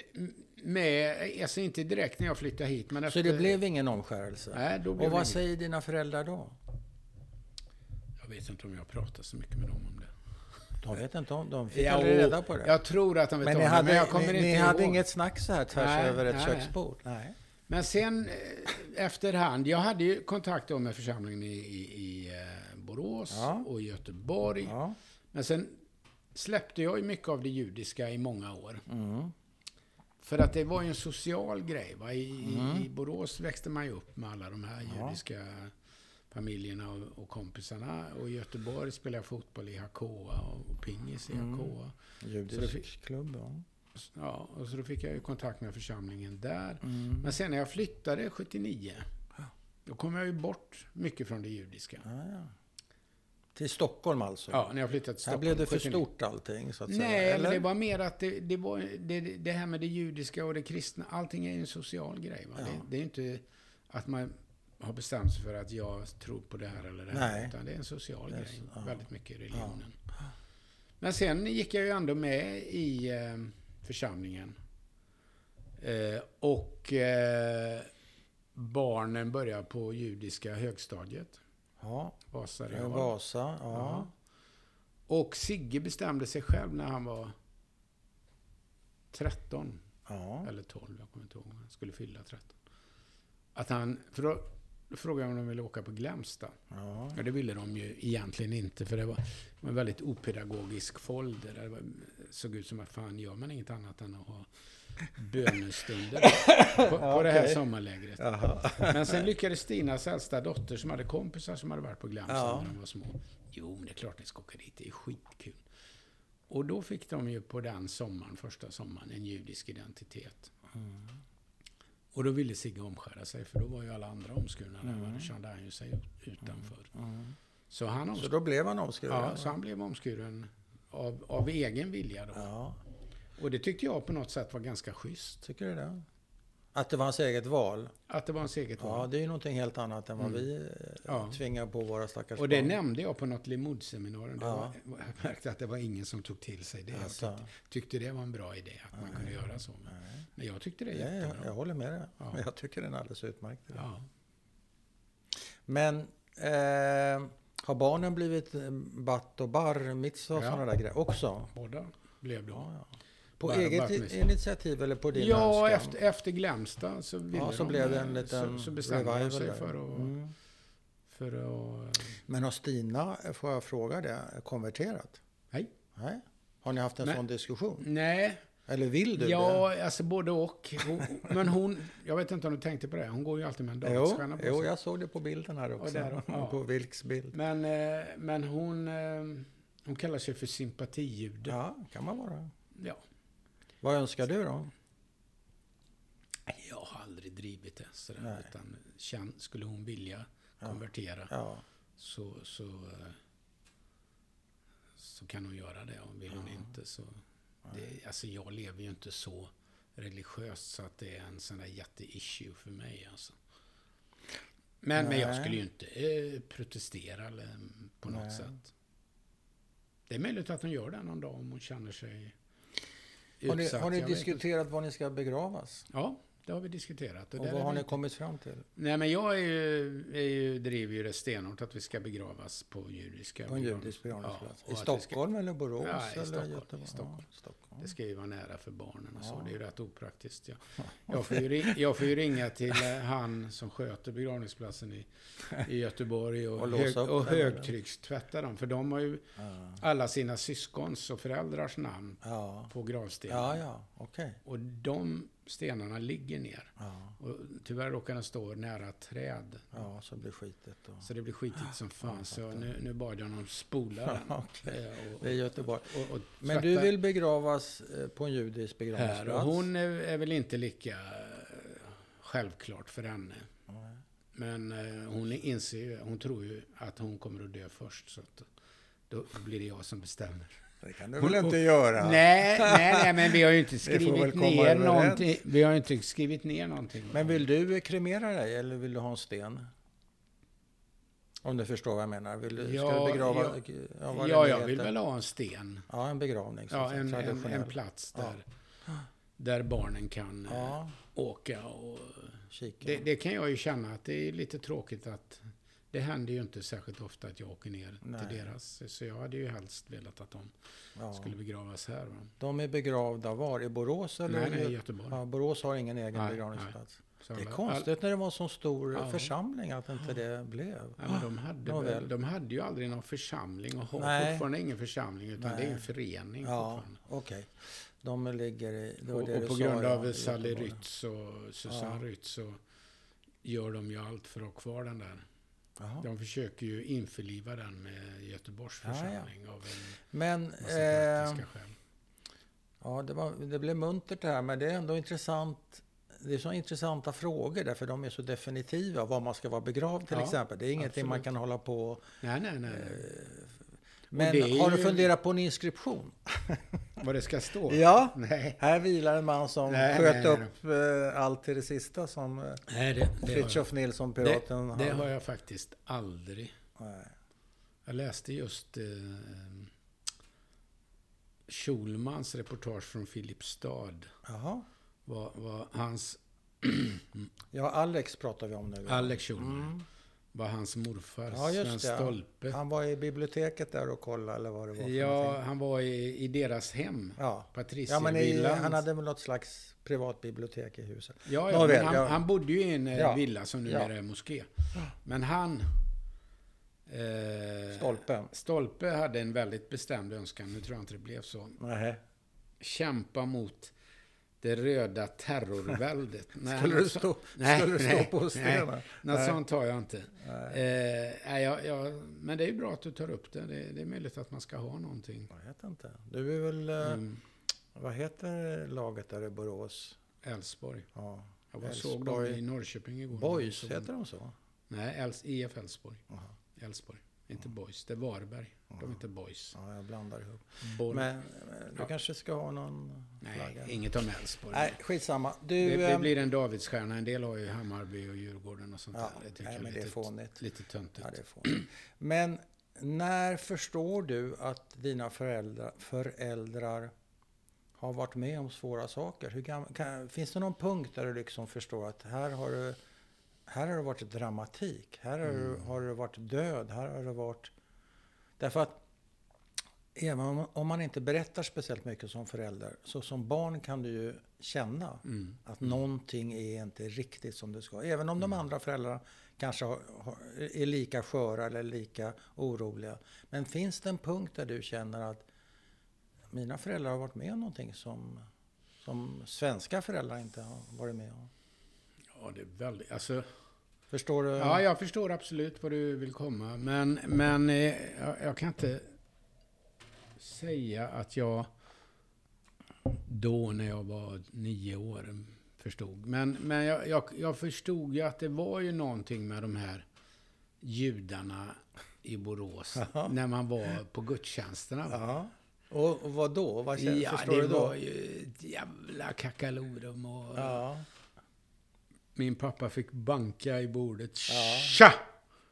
S2: med, alltså inte direkt när jag flyttade hit, men
S1: Så
S2: efter,
S1: det blev ingen omskärelse?
S2: eh, Nej, då blev
S1: Och
S2: det
S1: vad
S2: inget.
S1: säger dina föräldrar då?
S2: Jag vet inte om jag pratar så mycket med dem om det.
S1: De vet inte om de fick
S2: Ja,
S1: aldrig
S2: och
S1: reda på det.
S2: Jag tror att de vet
S1: men
S2: om
S1: ni
S2: det,
S1: hade,
S2: men jag kommer
S1: ni,
S2: inte
S1: ni hade
S2: ihåg.
S1: inget snack så här tvärs
S2: Nej,
S1: över ett
S2: nej.
S1: köksbord? Nej.
S2: Men sen eh, efterhand, jag hade ju kontakt då med församlingen i, i, i eh, Borås
S1: Ja.
S2: och Göteborg.
S1: Ja.
S2: Men sen släppte jag ju mycket av det judiska i många år.
S1: Mm.
S2: För att det var ju en social grej. Va? I,
S1: Mm.
S2: i, I Borås växte man ju upp med alla de här judiska familjerna och, och kompisarna. Och i Göteborg spelade jag fotboll i Hakoa och pingis i
S1: Mm.
S2: Hakoa.
S1: Judisk
S2: det
S1: klubb, ja.
S2: Ja, och så då fick jag ju kontakt med församlingen där.
S1: Mm.
S2: Men sen när jag flyttade 79, då kom jag ju bort mycket från det judiska.
S1: Ja, ja. Till Stockholm alltså?
S2: Ja, när jag flyttade till
S1: Här
S2: Stockholm.
S1: blev det för
S2: 79.
S1: stort allting, så att
S2: Nej,
S1: säga?
S2: men det var mer att det, det, var, det, det här med det judiska och det kristna, allting är ju en social grej. Va? Det, det är ju inte att man har bestämt sig för att jag tror på det här eller det här.
S1: Nej.
S2: Utan det är en social grej. Väldigt mycket i religionen. Men sen gick jag ju ändå med i eh, församlingen. Eh, och eh, barnen började på judiska högstadiet.
S1: Ja,
S2: Vasa
S1: det var
S2: Real.
S1: Vasa, ja.
S2: Och Sigge bestämde sig själv när han var 13
S1: ja.
S2: eller 12, jag kommer inte ihåg. Han skulle fylla 13. Att han, för då frågade jag om de ville åka på Glämsta.
S1: ja.
S2: Ja, det ville de ju egentligen inte för det var, det var en väldigt opedagogisk folder. Det var, såg ut som att fan gör man inget annat än att ha bönestunder på, på det här
S1: okej.
S2: sommarlägret.
S1: Jaha.
S2: Men sen lyckades Stinas äldsta dotter som hade kompisar som hade varit på Glans
S1: Ja.
S2: när de var små. Jo, men det är klart ni ska åka dit. Det är skitkul. Och då fick de ju på den sommaren, första sommaren, en judisk identitet. Och då ville Sigge omskära sig, för då var ju alla andra omskurna där.
S1: Mm.
S2: va? Då kände han ju sig ut- utanför. Så, han
S1: Så
S2: omskur,
S1: då blev han omskuren?
S2: ja, så han blev omskuren av, av egen vilja då.
S1: ja.
S2: Och det tyckte jag på något sätt var ganska schysst.
S1: Tycker du det? Att det var hans eget val?
S2: Att det var hans eget
S1: Ja,
S2: val.
S1: det är ju någonting helt annat än vad vi eh,
S2: Ja.
S1: tvingar på våra stackars
S2: Och det
S1: barn.
S2: nämnde jag på något Limoud-seminarium. Det
S1: Ja.
S2: var- Jag märkte att det var ingen som tog till sig det. Jag
S1: Alltså.
S2: tyckte, tyckte det var en bra idé, att man kunde göra så.
S1: Nej.
S2: Men jag tyckte det är
S1: Nej, jag,
S2: jättebra.
S1: jag håller med dig.
S2: Ja.
S1: Jag tycker den är alldeles utmärkt.
S2: Ja.
S1: Men eh, har barnen blivit eh, batt och barr, mitzvah och
S2: Ja.
S1: sådana där grejer också?
S2: Båda blev då.
S1: Ja, ja. På
S2: Barr och
S1: eget
S2: barr,
S1: i-
S2: mitzvah.
S1: initiativ eller på din
S2: Ja,
S1: önskan?
S2: efter, efter Glämsta så ville
S1: Ja, så
S2: de,
S1: blev det en
S2: eh,
S1: liten
S2: så, så bestämde de
S1: revival
S2: sig
S1: där.
S2: för att,
S1: Mm.
S2: för att... eh,
S1: Men har Stina, eh, får jag fråga det, konverterat?
S2: Nej.
S1: Nej. Har ni haft en
S2: Nej.
S1: sån diskussion?
S2: Nej,
S1: Eller vill du
S2: ja, alltså både och. Hon, men hon, jag vet inte om du tänkte på det, hon går ju alltid med en
S1: det? Jo,
S2: dansstjärna på sig.
S1: jo, jag såg det på bilden här också.
S2: där då, ja.
S1: På Vilks bild.
S2: Men, eh, men hon, eh, hon kallar sig för sympatijude.
S1: Ja, kan man vara.
S2: Ja.
S1: Vad önskar du då?
S2: Jag har aldrig drivit det sådär.
S1: Nej.
S2: Utan känn, skulle hon vilja konvertera
S1: Ja,
S2: så, så, eh, så kan hon göra det. Och vill hon inte så... Det, alltså jag lever ju inte så religiöst så att det är en sån där jätte-issue för mig. Alltså. Men, men jag
S1: Nej.
S2: skulle ju inte eh, protestera eller, mm, på något
S1: Nej.
S2: sätt. Det är möjligt att hon gör det någon dag om hon känner sig
S1: har ni,
S2: utsatt.
S1: har ni
S2: Jag vet inte.
S1: diskuterat var ni ska begravas?
S2: Ja, det har vi diskuterat. Och
S1: Och
S2: där
S1: vad
S2: är
S1: har
S2: vi-
S1: ni kommit fram till?
S2: Nej, men jag är ju, är ju, driver ju det stenhårt att vi ska begravas på judiska
S1: På en
S2: begravnings-
S1: judisk begravningsplats?
S2: Ja, och
S1: I
S2: att vi
S1: Stockholm eller Borås?
S2: Ja, i
S1: eller
S2: Stockholm, i
S1: Göteborg?
S2: Stockholm.
S1: Ja, Stockholm.
S2: Ska, det ska ju vara nära för barnen och så.
S1: Ja.
S2: Det är ju rätt opraktiskt. Jag, jag, får, ju ring, jag får ju ringa till eh, han som sköter begravningsplatsen i, i Göteborg och,
S1: Och låsa
S2: hög,
S1: upp
S2: och
S1: den, eller?
S2: högtryckstvätta dem. För de har ju
S1: Ja,
S2: alla sina syskons och föräldrars namn
S1: ja,
S2: på gravstenen.
S1: ja, ja. okej.
S2: Och de stenarna ligger ner.
S1: Ja.
S2: Och tyvärr råkar de stå nära träd.
S1: ja, så blir skitet då.
S2: Så det blir skitigt som fan. Så nu, nu bad jag någon spola den.
S1: Okej.
S2: eh, och-
S1: Det är Göteborg.
S2: och- och
S1: Men du
S2: tvätta
S1: vill begravas eh, på en judisk
S2: här. Och
S1: begravningsplats?
S2: hon är, är väl inte lika eh, självklart för henne.
S1: Nej.
S2: Men eh, hon inser ju, hon tror ju att hon kommer att dö först. Så att då blir det jag som bestämmer.
S1: Det kan du
S2: Hon-
S1: väl inte göra?
S2: Nej, nej, nej, men vi har ju inte
S1: får väl
S2: skrivit
S1: komma
S2: ner
S1: överens.
S2: någonting. Vi har ju inte skrivit ner någonting.
S1: Men vill du kremera dig eller vill du ha en sten? Om du förstår vad jag menar. Vill du, ska
S2: Ja,
S1: du begrava...
S2: ja.
S1: vad
S2: ja,
S1: det nu
S2: jag vill
S1: heter.
S2: väl ha en sten.
S1: Ja, en begravning. så att
S2: Ja,
S1: säga,
S2: en, en,
S1: traditionell.
S2: en plats där, där barnen kan eh,
S1: Ja,
S2: åka och...
S1: kika.
S2: Det, det kan jag ju känna att det är lite tråkigt att det händer ju inte särskilt ofta att jag åker ner
S1: Nej.
S2: till deras. Så jag hade ju helst velat att de
S1: ja.
S2: skulle begravas här. Va?
S1: De är begravda var? I Borås eller?
S2: Nej, nej,
S1: Gö-
S2: i Göteborg.
S1: Ja, Borås har ingen egen
S2: Nej,
S1: begravningsplats.
S2: Så
S1: Det är
S2: alla-
S1: konstigt när det var en sån stor
S2: Ja.
S1: församling att inte det blev.
S2: all- Ja, men de, hade,
S1: Nåväl.
S2: väl- de hade ju aldrig någon församling och har
S1: Nej.
S2: fortfarande ingen församling utan
S1: Nej.
S2: det är en förening
S1: Ja,
S2: fortfarande.
S1: okej. De ligger i... Det var
S2: Och,
S1: det
S2: och
S1: du
S2: på
S1: sa,
S2: grund
S1: ja,
S2: av
S1: i
S2: Sally
S1: Göteborg.
S2: Rytz och Susanne Rytz så gör de ju allt för att ha kvar den där.
S1: Jaha.
S2: De försöker ju införliva den med Göteborgs
S1: Ja, ja.
S2: församling av en
S1: Men...
S2: massa
S1: Eh,
S2: praktiska skäl.
S1: ja, det, var, det blev muntert det här, men det är ändå intressant. Det är så intressanta frågor därför de är så definitiva. Var man ska vara begravd till
S2: Ja,
S1: exempel. Det är ingenting man
S2: absolut.
S1: kan hålla på och
S2: Nej, nej, nej. nej.
S1: Men
S2: det är
S1: har du
S2: ju-
S1: funderat på en inskription?
S2: Vad det ska stå?
S1: Ja.
S2: Nej.
S1: Här vilar en man som
S2: Nej,
S1: sköt
S2: nej,
S1: upp eh, allt till det sista som eh,
S2: Nej, det, det, har, jag,
S1: Fritiof Nilsson, piraten,
S2: det, det
S1: han-
S2: har jag faktiskt aldrig.
S1: Nej.
S2: Jag läste just eh, Schulmans reportage från Filipstad.
S1: Jaha.
S2: Var, var hans,
S1: Ja, Alex pratar vi om nu.
S2: Alex Schulman, var hans morfar,
S1: Mm. Ja, just
S2: Sven
S1: det.
S2: Stolpe.
S1: Han var i biblioteket där och kollade eller vad det var för
S2: Ja,
S1: någonting.
S2: han var i, i deras hem.
S1: Ja. Ja, men i,
S2: Patriciervillan.
S1: han hade väl något slags privatbibliotek i huset.
S2: Ja, ja
S1: Nåväl,
S2: men han,
S1: ja.
S2: han bodde ju i en eh,
S1: Ja.
S2: villa som numera
S1: Ja.
S2: är moské. Men han... Eh,
S1: Stolpe.
S2: Stolpe hade en väldigt bestämd önskan, nu tror jag inte det blev så.
S1: Nej.
S2: Kämpa mot det röda terrorväldet. Nej,
S1: Skulle
S2: något
S1: du
S2: så-
S1: stå- skulle du stå på stenen?
S2: Nej, något sånt har jag inte. Nej. Eh, nej, jag, jag, men det är ju bra att du tar upp det. Det, det är möjligt att man ska ha någonting.
S1: Jag vet inte. Du är väl... eh,
S2: Mm.
S1: Vad heter laget där i Borås?
S2: Älvsborg.
S1: Ja.
S2: Jag var såg dem
S1: Älvsborg.
S2: i Norrköping igår.
S1: Boys,
S2: Såg-
S1: heter de så?
S2: Nej, Äls- IF E Älvsborg. Älvsborg. Inte boys, det är Varberg. De heter boys.
S1: Ja, jag blandar ihop.
S2: Boll.
S1: Men eh, du kanske ska ha någon
S2: Nej,
S1: flagga?
S2: inget om Elfsborg.
S1: Nej, skitsamma. Du,
S2: Det, det
S1: ehm,
S2: blir en Davidsstjärna. En del har ju Hammarby och Djurgården och sånt
S1: Ja,
S2: där. Det tycker
S1: nej,
S2: jag
S1: men det är
S2: lite,
S1: fånigt.
S2: lite töntigt.
S1: ja, det får du. Men när förstår du att dina föräldrar, föräldrar har varit med om svåra saker? Hur gam- kan, finns det någon punkt där du liksom förstår att här har du, här har det varit dramatik, här har, du, har det varit död, här har det varit... Därför att även om, om man inte berättar speciellt mycket som förälder, så som barn kan du ju känna
S2: Mm.
S1: att någonting är inte riktigt som det ska. Även om de
S2: Mm.
S1: andra föräldrarna kanske har, har, är lika sköra eller lika oroliga. Men finns det en punkt där du känner att mina föräldrar har varit med om någonting som, som svenska föräldrar inte har varit med om?
S2: Ja, det är väldigt... Alltså,
S1: Förstår du?
S2: ja, jag förstår absolut vad du vill komma. Men, men eh, jag, jag kan inte säga att jag då när jag var nio år förstod. Men, men jag, jag, jag förstod ju att det var ju någonting med de här judarna i Borås när man var på gudstjänsterna. va?
S1: Ja. Och, och vad då? Vad känner,
S2: ja,
S1: förstår
S2: det
S1: du då?
S2: var ju ett jävla kakalorum och...
S1: Ja.
S2: Min pappa fick banka i bordet.
S1: Ja.
S2: Tja!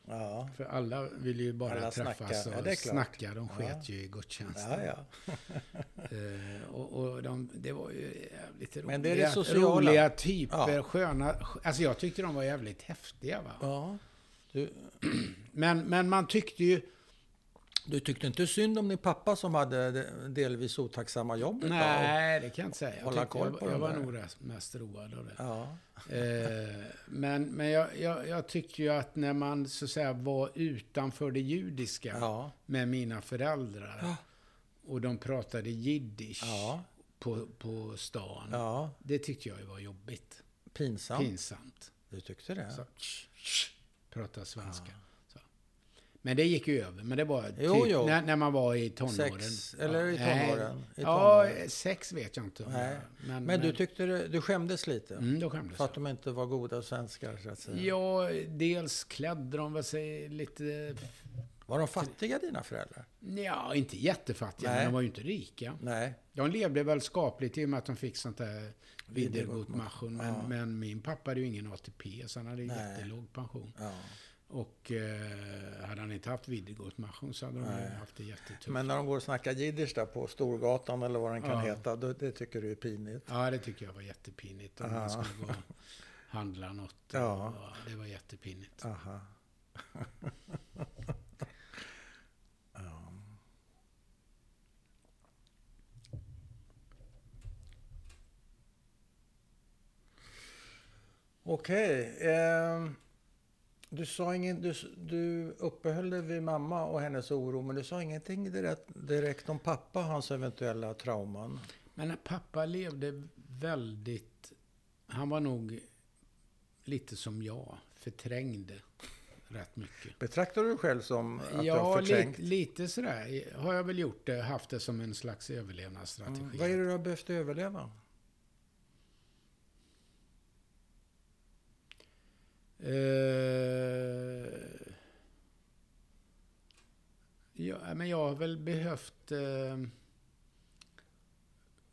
S1: Ja.
S2: För alla ville ju bara
S1: Alla
S2: träffas
S1: snackar. Ja,
S2: och
S1: det är klart.
S2: snacka. De sket
S1: Ja.
S2: ju i gudstjänsten.
S1: Ja, ja.
S2: Eh, och och de, det var ju jävligt roliga,
S1: Men det är det sociala.
S2: roliga typer.
S1: Ja.
S2: Sköna. Alltså jag tyckte de var jävligt häftiga. Va?
S1: ja. Du,
S2: Men, men man tyckte ju...
S1: du tyckte inte synd om din pappa som hade det delvis otacksamma jobbet? va?
S2: Nej, det kan jag inte säga. Jag,
S1: Hålla
S2: tyckte,
S1: koll
S2: jag,
S1: på de
S2: jag var
S1: där.
S2: nog res- mest road av det.
S1: Ja.
S2: Eh, men men jag, jag, jag tyckte ju att när man så att säga var utanför det judiska.
S1: Ja.
S2: med mina föräldrar. Och de pratade jiddisch
S1: Ja.
S2: på, på stan.
S1: Ja.
S2: Det tyckte jag ju var jobbigt.
S1: Pinsamt.
S2: Pinsamt.
S1: Du tyckte det?
S2: Så, tsch, tsch, prata svenska. Så. Men det gick ju över. Men det var typ
S1: Jo, jo.
S2: När, när man var i tonåren.
S1: Sex, eller i
S2: nej.
S1: tonåren. I
S2: Ja,
S1: tonåren.
S2: sex vet jag inte. om
S1: Nej.
S2: jag-
S1: Men, du tyckte det, du skämdes lite?
S2: mm, Då skämdes
S1: För
S2: jag.
S1: att de inte var goda svenskar, så att säga.
S2: Ja, dels klädde de väl sig lite...
S1: Var de fattiga, dina föräldrar?
S2: Ja, inte jättefattiga,
S1: Nej.
S2: men de var ju inte rika.
S1: Nej.
S2: De levde väl skapligt i och med att de fick sånt där Wiedergutmachung. Men, men min pappa hade ju ingen ATP, så han hade ju
S1: Nej.
S2: jättelåg pension.
S1: Ja.
S2: Och eh, hade han inte haft Wiedergutmachung så hade de ju haft det jättetufft.
S1: Men när de går och snackar jiddisch där på Storgatan eller vad den kan
S2: Typ. Ja.
S1: heta, då, det tycker du är pinigt?
S2: Ja, det tycker jag var jättepinigt. Om man skulle gå och handla något.
S1: Ja.
S2: det var jättepinigt.
S1: Aha. Okej. ehm, du sa ingen, du, s- du uppehöll dig vid mamma och hennes oro, men du sa ingenting direkt, direkt om pappa och hans eventuella trauman.
S2: Men när pappa levde väldigt... Han var nog lite som jag, förträngde rätt mycket.
S1: Betraktar du dig själv som att du har
S2: Ja, li,
S1: förträngt?
S2: lite sådär har jag väl gjort det. Haft det som en slags överlevnadsstrategi.
S1: Mm, Vad är det du har behövt överleva?
S2: Eh, ja, men jag har väl behövt eh,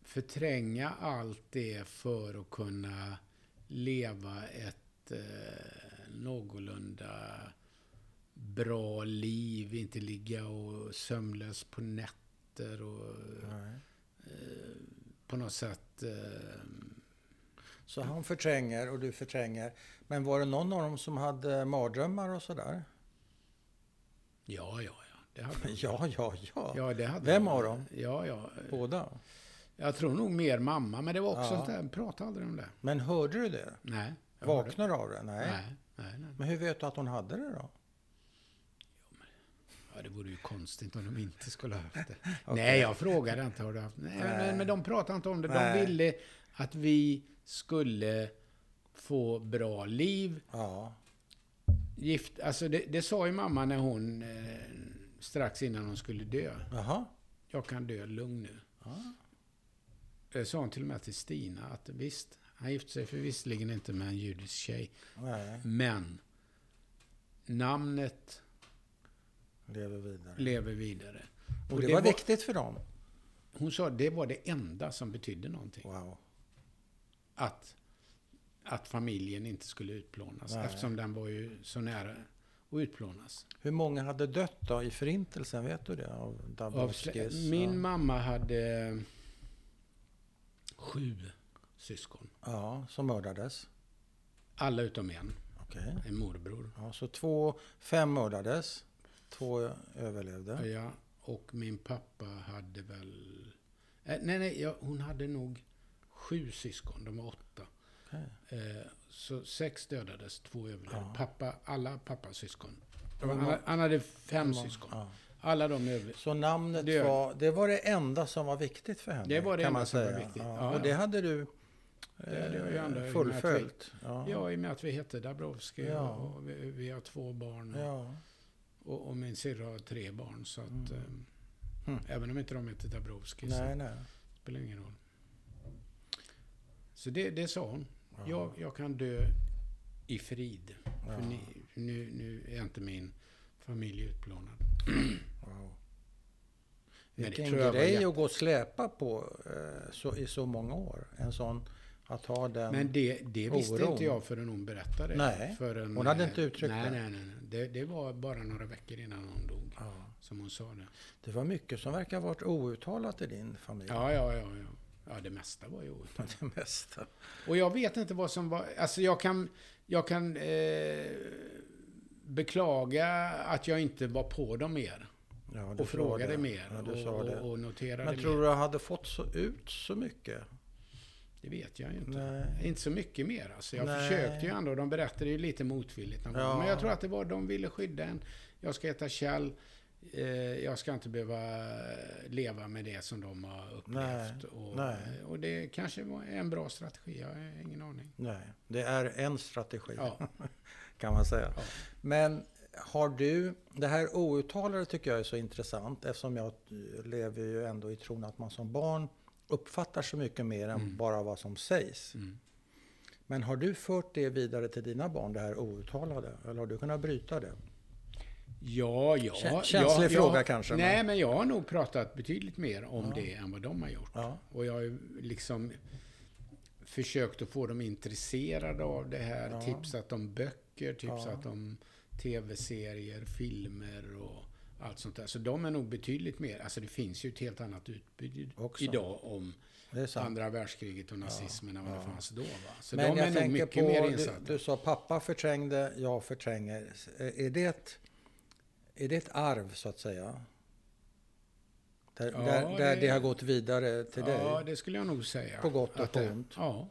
S2: förtränga allt det för att kunna leva ett eh, någorlunda bra liv. Inte ligga och sömnlös på nätter och
S1: Nej.
S2: Eh, på något sätt eh,
S1: Så han förtränger och du förtränger. Men var det någon av dem som hade mardrömmar och sådär?
S2: Ja, ja, ja. Det hade de.
S1: Ja, ja, ja.
S2: ja det hade
S1: Vem
S2: de.
S1: av dem?
S2: Ja, ja.
S1: Båda.
S2: Jag tror nog mer mamma, men det var också
S1: Ja.
S2: sånt där. Pratade aldrig om det.
S1: Men hörde du det?
S2: Nej. jag hörde.
S1: Vaknar du av det? Nej.
S2: Nej, nej, nej.
S1: Men hur vet du att hon hade det då?
S2: Ja, det vore ju konstigt om de inte skulle ha haft det. Nej, jag frågade inte. Har du haft nej,
S1: Nej.
S2: Men, men de pratade inte om det. De
S1: Nej.
S2: ville att vi skulle få bra liv.
S1: Ja.
S2: Gift, alltså det, det sa ju mamma när hon eh, strax innan hon skulle dö.
S1: Jaha.
S2: Jag kan dö lugn nu.
S1: Ja.
S2: Det sa hon till och med till Stina att visst, han gifte sig för visserligen inte med en judisk tjej,
S1: Nej.
S2: men namnet
S1: lever vidare.
S2: lever vidare.
S1: Mm. Och det, var viktigt för dem.
S2: hon sa det var det enda som betydde någonting.
S1: Wow.
S2: Att, att familjen inte skulle utplånas.
S1: Nej.
S2: Eftersom den var ju så nära att utplånas.
S1: Hur många hade dött då i Förintelsen? Vet du det? Av
S2: Av,
S1: Dabrowskis?
S2: slä- min
S1: ja.
S2: mamma hade sju syskon.
S1: ja, som mördades.
S2: Alla utom en.
S1: Okej.
S2: En morbror.
S1: Ja, så två, fem mördades. Två överlevde.
S2: Ja, och min pappa hade väl... Eh, nej, nej, ja, hon hade nog sju syskon. De var åtta.
S1: Okej.
S2: Eh, så sex dödades, två överlevde.
S1: Ja.
S2: Pappa, alla pappas syskon.
S1: Det var
S2: Han,
S1: många-
S2: hade- han hade fem
S1: det var-
S2: syskon.
S1: ja.
S2: Alla de överlevde.
S1: Så namnet
S2: Det gör det.
S1: var, det var det enda som var viktigt för henne?
S2: Det var det
S1: kan
S2: enda
S1: man
S2: som var
S1: säga.
S2: viktigt.
S1: Ja.
S2: Ja,
S1: och
S2: ja.
S1: det hade du
S2: Det hade jag ju
S1: eh,
S2: ändå i och med att vi-
S1: fullföljt? Ja.
S2: Ja, i och med att vi hette Dabrowski
S1: Ja.
S2: och vi, vi har två barn.
S1: ja.
S2: Och, och min syrra har tre barn. Så att,
S1: Mm.
S2: ehm,
S1: Hmm.
S2: Även om inte de heter Dabrowski
S1: Nej,
S2: så
S1: nej.
S2: spelar det ingen roll. Så det, det sa hon.
S1: Ja.
S2: Jag, jag kan dö i frid.
S1: Ja.
S2: För ni, nu, nu är inte min familj utplånad.
S1: Wow.
S2: Men det
S1: Vilken
S2: tror jag var
S1: grej
S2: jätte-
S1: att gå och släpa på eh, så, i så många år. En sån, att ha den...
S2: Men det, det visste
S1: oron.
S2: inte jag förrän hon berättade.
S1: Nej,
S2: Förrän,
S1: hon hade
S2: eh,
S1: inte uttryckt
S2: nej,
S1: det.
S2: Nej, nej, nej. Det, det var bara några veckor innan hon dog.
S1: ja.
S2: Som hon sa det.
S1: Det var mycket som verkar ha varit outtalat i din familj.
S2: Ja, ja, ja. ja. ja det mesta var ju outtalat.
S1: Det mesta.
S2: Och jag vet inte vad som var... Alltså jag kan... Jag kan eh, beklaga att jag inte var på dem mer.
S1: Ja, du
S2: Och
S1: sa
S2: frågade
S1: det.
S2: mer.
S1: Ja, du
S2: och,
S1: sa det.
S2: och, och noterade
S1: Men
S2: mer.
S1: tror du jag hade fått så ut så mycket?
S2: Det vet jag ju inte.
S1: Nej.
S2: Inte så mycket mer alltså. Jag
S1: Nej.
S2: försökte ju ändå. De berättade ju lite motvilligt. någon gång.
S1: Ja.
S2: Men jag tror att det var de ville skydda en. Jag ska heta Kjell. Eh, jag ska inte behöva leva med det som de har upplevt. Och,
S1: Nej.
S2: och det kanske var en bra strategi. Jag har ingen aning.
S1: Nej, det är en strategi
S2: Ja.
S1: kan man säga.
S2: Ja.
S1: Men har du, det här outtalade tycker jag är så intressant eftersom jag eh, lever ju ändå i tron att man som barn uppfattar så mycket mer än bara vad som sägs.
S2: Mm.
S1: Men har du fört det vidare till dina barn, det här outtalade? Eller har du kunnat bryta det?
S2: Ja, ja.
S1: Kä-
S2: ja,
S1: känslig
S2: ja.
S1: fråga kanske,
S2: Nej,
S1: men-
S2: men jag har nog pratat betydligt mer om
S1: Ja.
S2: det än vad de har gjort.
S1: Ja.
S2: Och jag har ju liksom försökt att få dem intresserade av det här.
S1: Ja.
S2: Tipsat om böcker, tipsat
S1: Ja.
S2: om tv-serier, filmer och allt sånt där. Så de är nog betydligt mer... Alltså det finns ju ett helt annat utbud
S1: Också.
S2: idag om
S1: Det är sant.
S2: andra världskriget och nazismen än vad det
S1: Ja.
S2: fanns då. Va? Så de är
S1: jag
S2: nog
S1: tänker
S2: mycket mer
S1: du,
S2: insatta.
S1: du sa pappa förträngde, jag förtränger. S- Är det ett, är det ett arv så att säga? Där,
S2: Ja,
S1: där, där det...
S2: det-
S1: har gått vidare till
S2: Ja,
S1: dig?
S2: det skulle jag nog säga.
S1: På gott och
S2: Att
S1: på
S2: det-
S1: ont.
S2: Ja.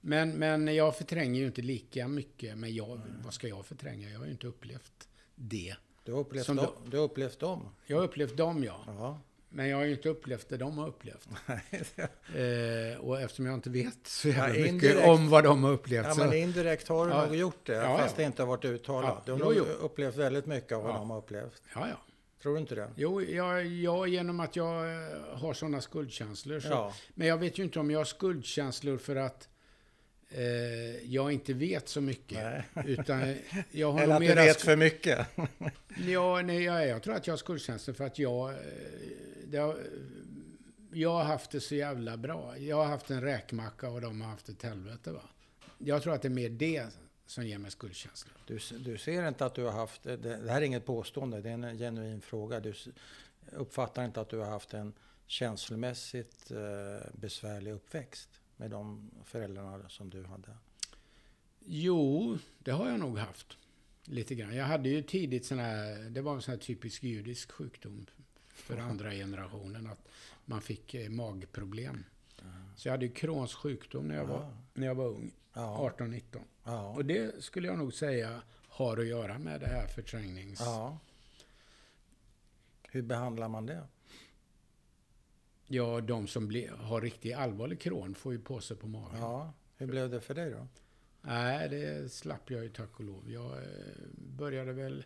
S2: Men, men jag förtränger ju inte lika mycket. Men jag, vad ska jag förtränga? Jag har ju inte upplevt det.
S1: Du har upplevt,
S2: Som
S1: dem,
S2: du-
S1: du... har upplevt dem?
S2: Jag har upplevt dem, ja.
S1: Ja.
S2: Men jag har ju inte upplevt det de har upplevt.
S1: Nej, det-
S2: Eh, och eftersom jag inte vet så jävla
S1: Ja,
S2: mycket
S1: indirekt.
S2: om vad de har upplevt.
S1: ja,
S2: så,
S1: men indirekt har du
S2: Ja.
S1: nog gjort det,
S2: Ja,
S1: fast
S2: ja.
S1: det inte har varit uttalat.
S2: Ja,
S1: Du
S2: jo,
S1: har
S2: jo.
S1: nog upplevt väldigt mycket av vad
S2: Ja.
S1: de har upplevt.
S2: ja, ja.
S1: Tror du inte det?
S2: Jo, jag, jag, genom att jag eh, har sådana skuldkänslor så
S1: Ja.
S2: Men jag vet ju inte om jag har skuldkänslor för att eh, jag inte vet så mycket.
S1: Nej.
S2: Utan jag har
S1: Eller
S2: nog
S1: att du
S2: mera
S1: vet
S2: sk-
S1: för mycket?
S2: ja, nej, jag, jag tror att jag har skuldkänslor för att jag... eh, Det har, jag har haft det så jävla bra. Jag har haft en räkmacka och de har haft ett helvete. Va? Jag tror att det är mer det som ger mig skuldkänslor.
S1: Du, s- du ser inte att du har haft, det, det här är inget påstående, det är en genuin fråga. Du s- uppfattar inte att du har haft en känslomässigt eh, besvärlig uppväxt med de föräldrarna som du hade?
S2: Jo, det har jag nog haft. Lite grann. Jag hade ju tidigt sån här, det var en sån här typisk judisk sjukdom för andra generationen, att man fick eh, magproblem. Så jag hade ju Crohns sjukdom när jag var, när jag var ung,
S1: Ja.
S2: 18-19.
S1: Ja.
S2: Och det skulle jag nog säga har att göra med det här förträngnings...
S1: ja. Hur behandlar man det?
S2: Ja, de som ble, har riktigt allvarlig Crohn får ju påse på magen.
S1: Ja. Hur blev det för dig då?
S2: Nej, det slapp jag ju tack och lov. Jag eh, började väl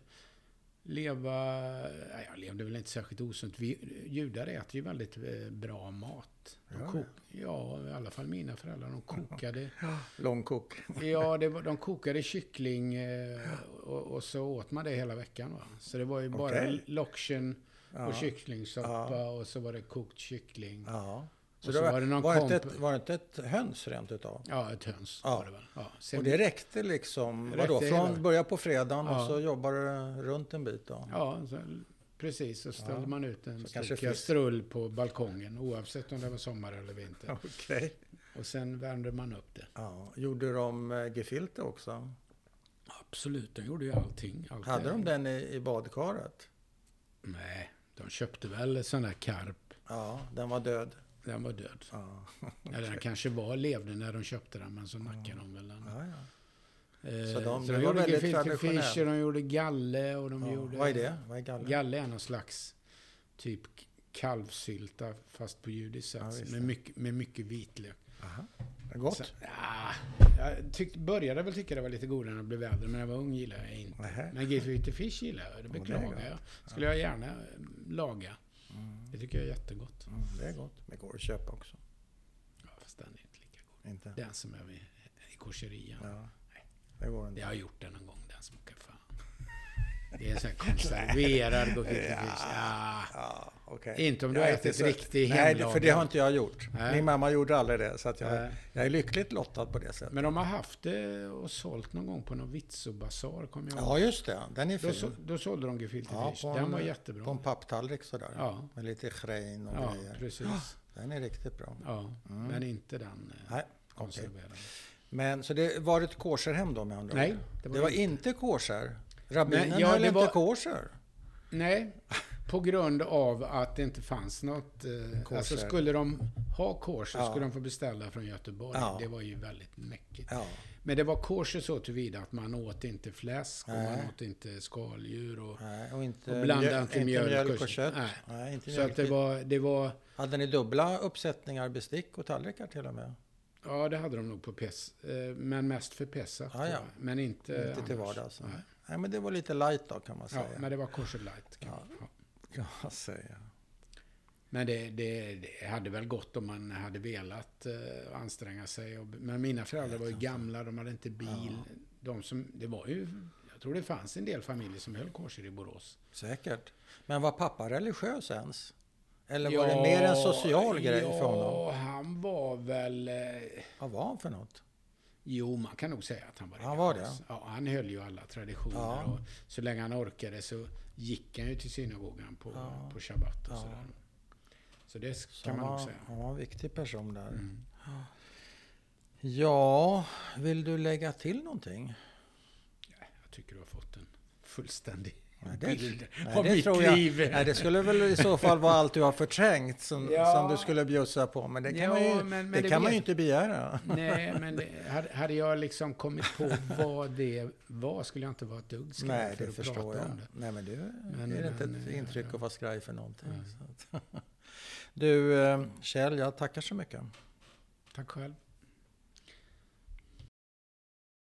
S2: leva... Nej, jag levde väl inte särskilt osunt. Vi, judar äter ju väldigt eh, bra mat. De
S1: Ja,
S2: kok, ja, i alla fall mina föräldrar. De kokade...
S1: Långkok.
S2: Ja, det var, de kokade kyckling eh, och, och så åt man det hela veckan. Va? Så det var ju bara
S1: Okej.
S2: loction och
S1: Ja.
S2: kycklingsoppa och så var det kokt kyckling.
S1: Ja.
S2: Och så var det någon
S1: var, inte
S2: komp-
S1: ett, var det inte ett höns rent utav?
S2: Ja, ett höns
S1: Ja.
S2: var det väl. Ja. Sen,
S1: Och det räckte liksom,
S2: Det
S1: vadå,
S2: räckte hela-
S1: från början på fredagen
S2: Ja.
S1: och så jobbar du runt en bit då?
S2: ja, så, precis. Så ställde man ut en
S1: Så
S2: stor
S1: kanske fisk.
S2: kastrull på balkongen oavsett om det var sommar eller vinter.
S1: Okej.
S2: Och sen värmde man upp det.
S1: Ja. Gjorde de eh, gefilte också?
S2: Absolut, de gjorde ju allting. Allt
S1: Hade de den i, i badkaret?
S2: Nej, de köpte väl sån där karp.
S1: Ja, den var död.
S2: Den var död.
S1: Ja,
S2: Eller den kanske var levde när de köpte den, men så nackade de väl den.
S1: ja, ja.
S2: Eh,
S1: Så de- det
S2: så de
S1: var
S2: gjorde
S1: väldigt
S2: gefilte
S1: traditionellt.
S2: fish och de gjorde galle och de
S1: ja.
S2: gjorde...
S1: Vad är det? Vad är galler?
S2: Galle är någon slags typ kalvsylta fast på judiskt
S1: Ja,
S2: sätt.
S1: visst.
S2: med, mycket, med mycket vitlök.
S1: Aha. Gott?
S2: Sen- ah, jag tyckte, började väl tycka det var lite godare när jag blev äldre, men när jag var ung gillade jag inte.
S1: Nähä.
S2: Men gefilte fish gillar jag, det
S1: det är
S2: beklagar
S1: gott.
S2: jag. Skulle jag gärna eh, laga.
S1: Mm.
S2: Det tycker jag är jättegott.
S1: Mm, det är gott. Men går att köpa också.
S2: Ja, fast den är inte lika god.
S1: Inte?
S2: Den som är vid, i kosherian.
S1: Ja. Det går inte.
S2: Jag har gjort den någon gång, den smakar fan. Det är en sån här konserverad gefilte fish. Ah.
S1: Ja, okej.
S2: Inte om du
S1: Jag
S2: har
S1: äter
S2: ätit
S1: så-
S2: riktig
S1: Nej, det- för det har
S2: hemlagad.
S1: inte jag gjort.
S2: Nej.
S1: Min mamma gjorde aldrig det, så att jag,
S2: Nej.
S1: jag är lyckligt lottad på det sättet.
S2: Men de har haft det och sålt någon gång på någon Vitsobasar, kommer jag ihåg.
S1: Ja, just det. Den är
S2: Då, så,
S1: fin.
S2: då sålde de gefilte
S1: Ja,
S2: fish.
S1: på
S2: Den
S1: en- eh,
S2: var
S1: På en
S2: jättebra.
S1: papptallrik sådär.
S2: Ja.
S1: Med lite schrein och
S2: Ja,
S1: grejer.
S2: precis.
S1: Den är riktigt bra.
S2: Ja, men inte den eh,
S1: Mm. Nej, okej.
S2: konserverade.
S1: Men så det var ett kosherhem då med andra
S2: Nej,
S1: ord? Det
S2: det var
S1: var, inte kosher? Rabbinen
S2: Nej, ja,
S1: höll
S2: det
S1: inte
S2: var-
S1: kosher?
S2: Nej, på grund av att det inte fanns något. Eh, alltså
S1: Kosher.
S2: skulle de ha kosher
S1: Ja.
S2: skulle de få beställa från Göteborg.
S1: Ja.
S2: Det var ju väldigt mäckigt.
S1: Ja.
S2: Men det var kosher så tillvida att man åt inte fläsk och man
S1: Nej.
S2: åt inte skaldjur. Och,
S1: Nej, och inte,
S2: Och blanda
S1: mjö-
S2: inte mjölk
S1: mjölk
S2: och
S1: och kött?
S2: kött. Nej.
S1: Nej, inte
S2: så att
S1: mjölk.
S2: det var, det var...
S1: Hade ni dubbla uppsättningar bestick och tallrikar till och med?
S2: Ja, det hade de nog på Pes, eh, Men mest för Pesach.
S1: Ah, Ja,
S2: tror
S1: ja.
S2: jag. Men inte,
S1: inte till
S2: annars.
S1: vardags?
S2: Nej.
S1: Nej. men det var lite light då kan man
S2: Ja,
S1: säga.
S2: men det var kosher light. Kan man- ja.
S1: Kan man säga.
S2: Men det, det, det hade väl gått om man hade velat eh, anstränga sig. Och, men mina föräldrar var ju gamla, de hade inte bil. De som, det var ju, jag tror det fanns en del familjer som höll kosher i Borås.
S1: Säkert. Men var pappa religiös ens? Eller var det mer en social grej
S2: ja,
S1: för honom?
S2: han var väl... Eh,
S1: Vad var han för något?
S2: Jo, man kan nog säga att han var
S1: Han var
S2: religiös. Ja, han höll ju alla traditioner
S1: Ja.
S2: och så länge han orkade så gick han ju till synagogan på, på shabbat och
S1: Ja.
S2: sådär. Så det s-
S1: Så
S2: kan man
S1: han
S2: nog
S1: var,
S2: säga. Mm.
S1: han var en viktig person där. Ja, vill du lägga till någonting?
S2: Jag tycker du har fått en fullständig
S1: Nej, det-
S2: bild
S1: Nej,
S2: av
S1: det
S2: mitt
S1: tror jag.
S2: liv.
S1: Nej, det skulle väl i så fall vara allt du har förträngt som,
S2: Ja.
S1: som du skulle bjussa på. Men det kan
S2: Ja,
S1: man ju,
S2: men- men
S1: det
S2: det
S1: kan man
S2: vet-
S1: ju inte begära.
S2: Nej, men det, hade- hade jag liksom kommit på vad det var skulle jag inte vara ett dugg skraj
S1: Nej,
S2: för
S1: det
S2: att
S1: förstår
S2: prata
S1: jag.
S2: om det.
S1: Nej, men du
S2: Men-
S1: är det inte
S2: men,
S1: ett
S2: eh,
S1: intryck av att vara skraj för någonting.
S2: Nej.
S1: Så att. Du, eh, Kjell, jag tackar så mycket.
S2: Tack själv.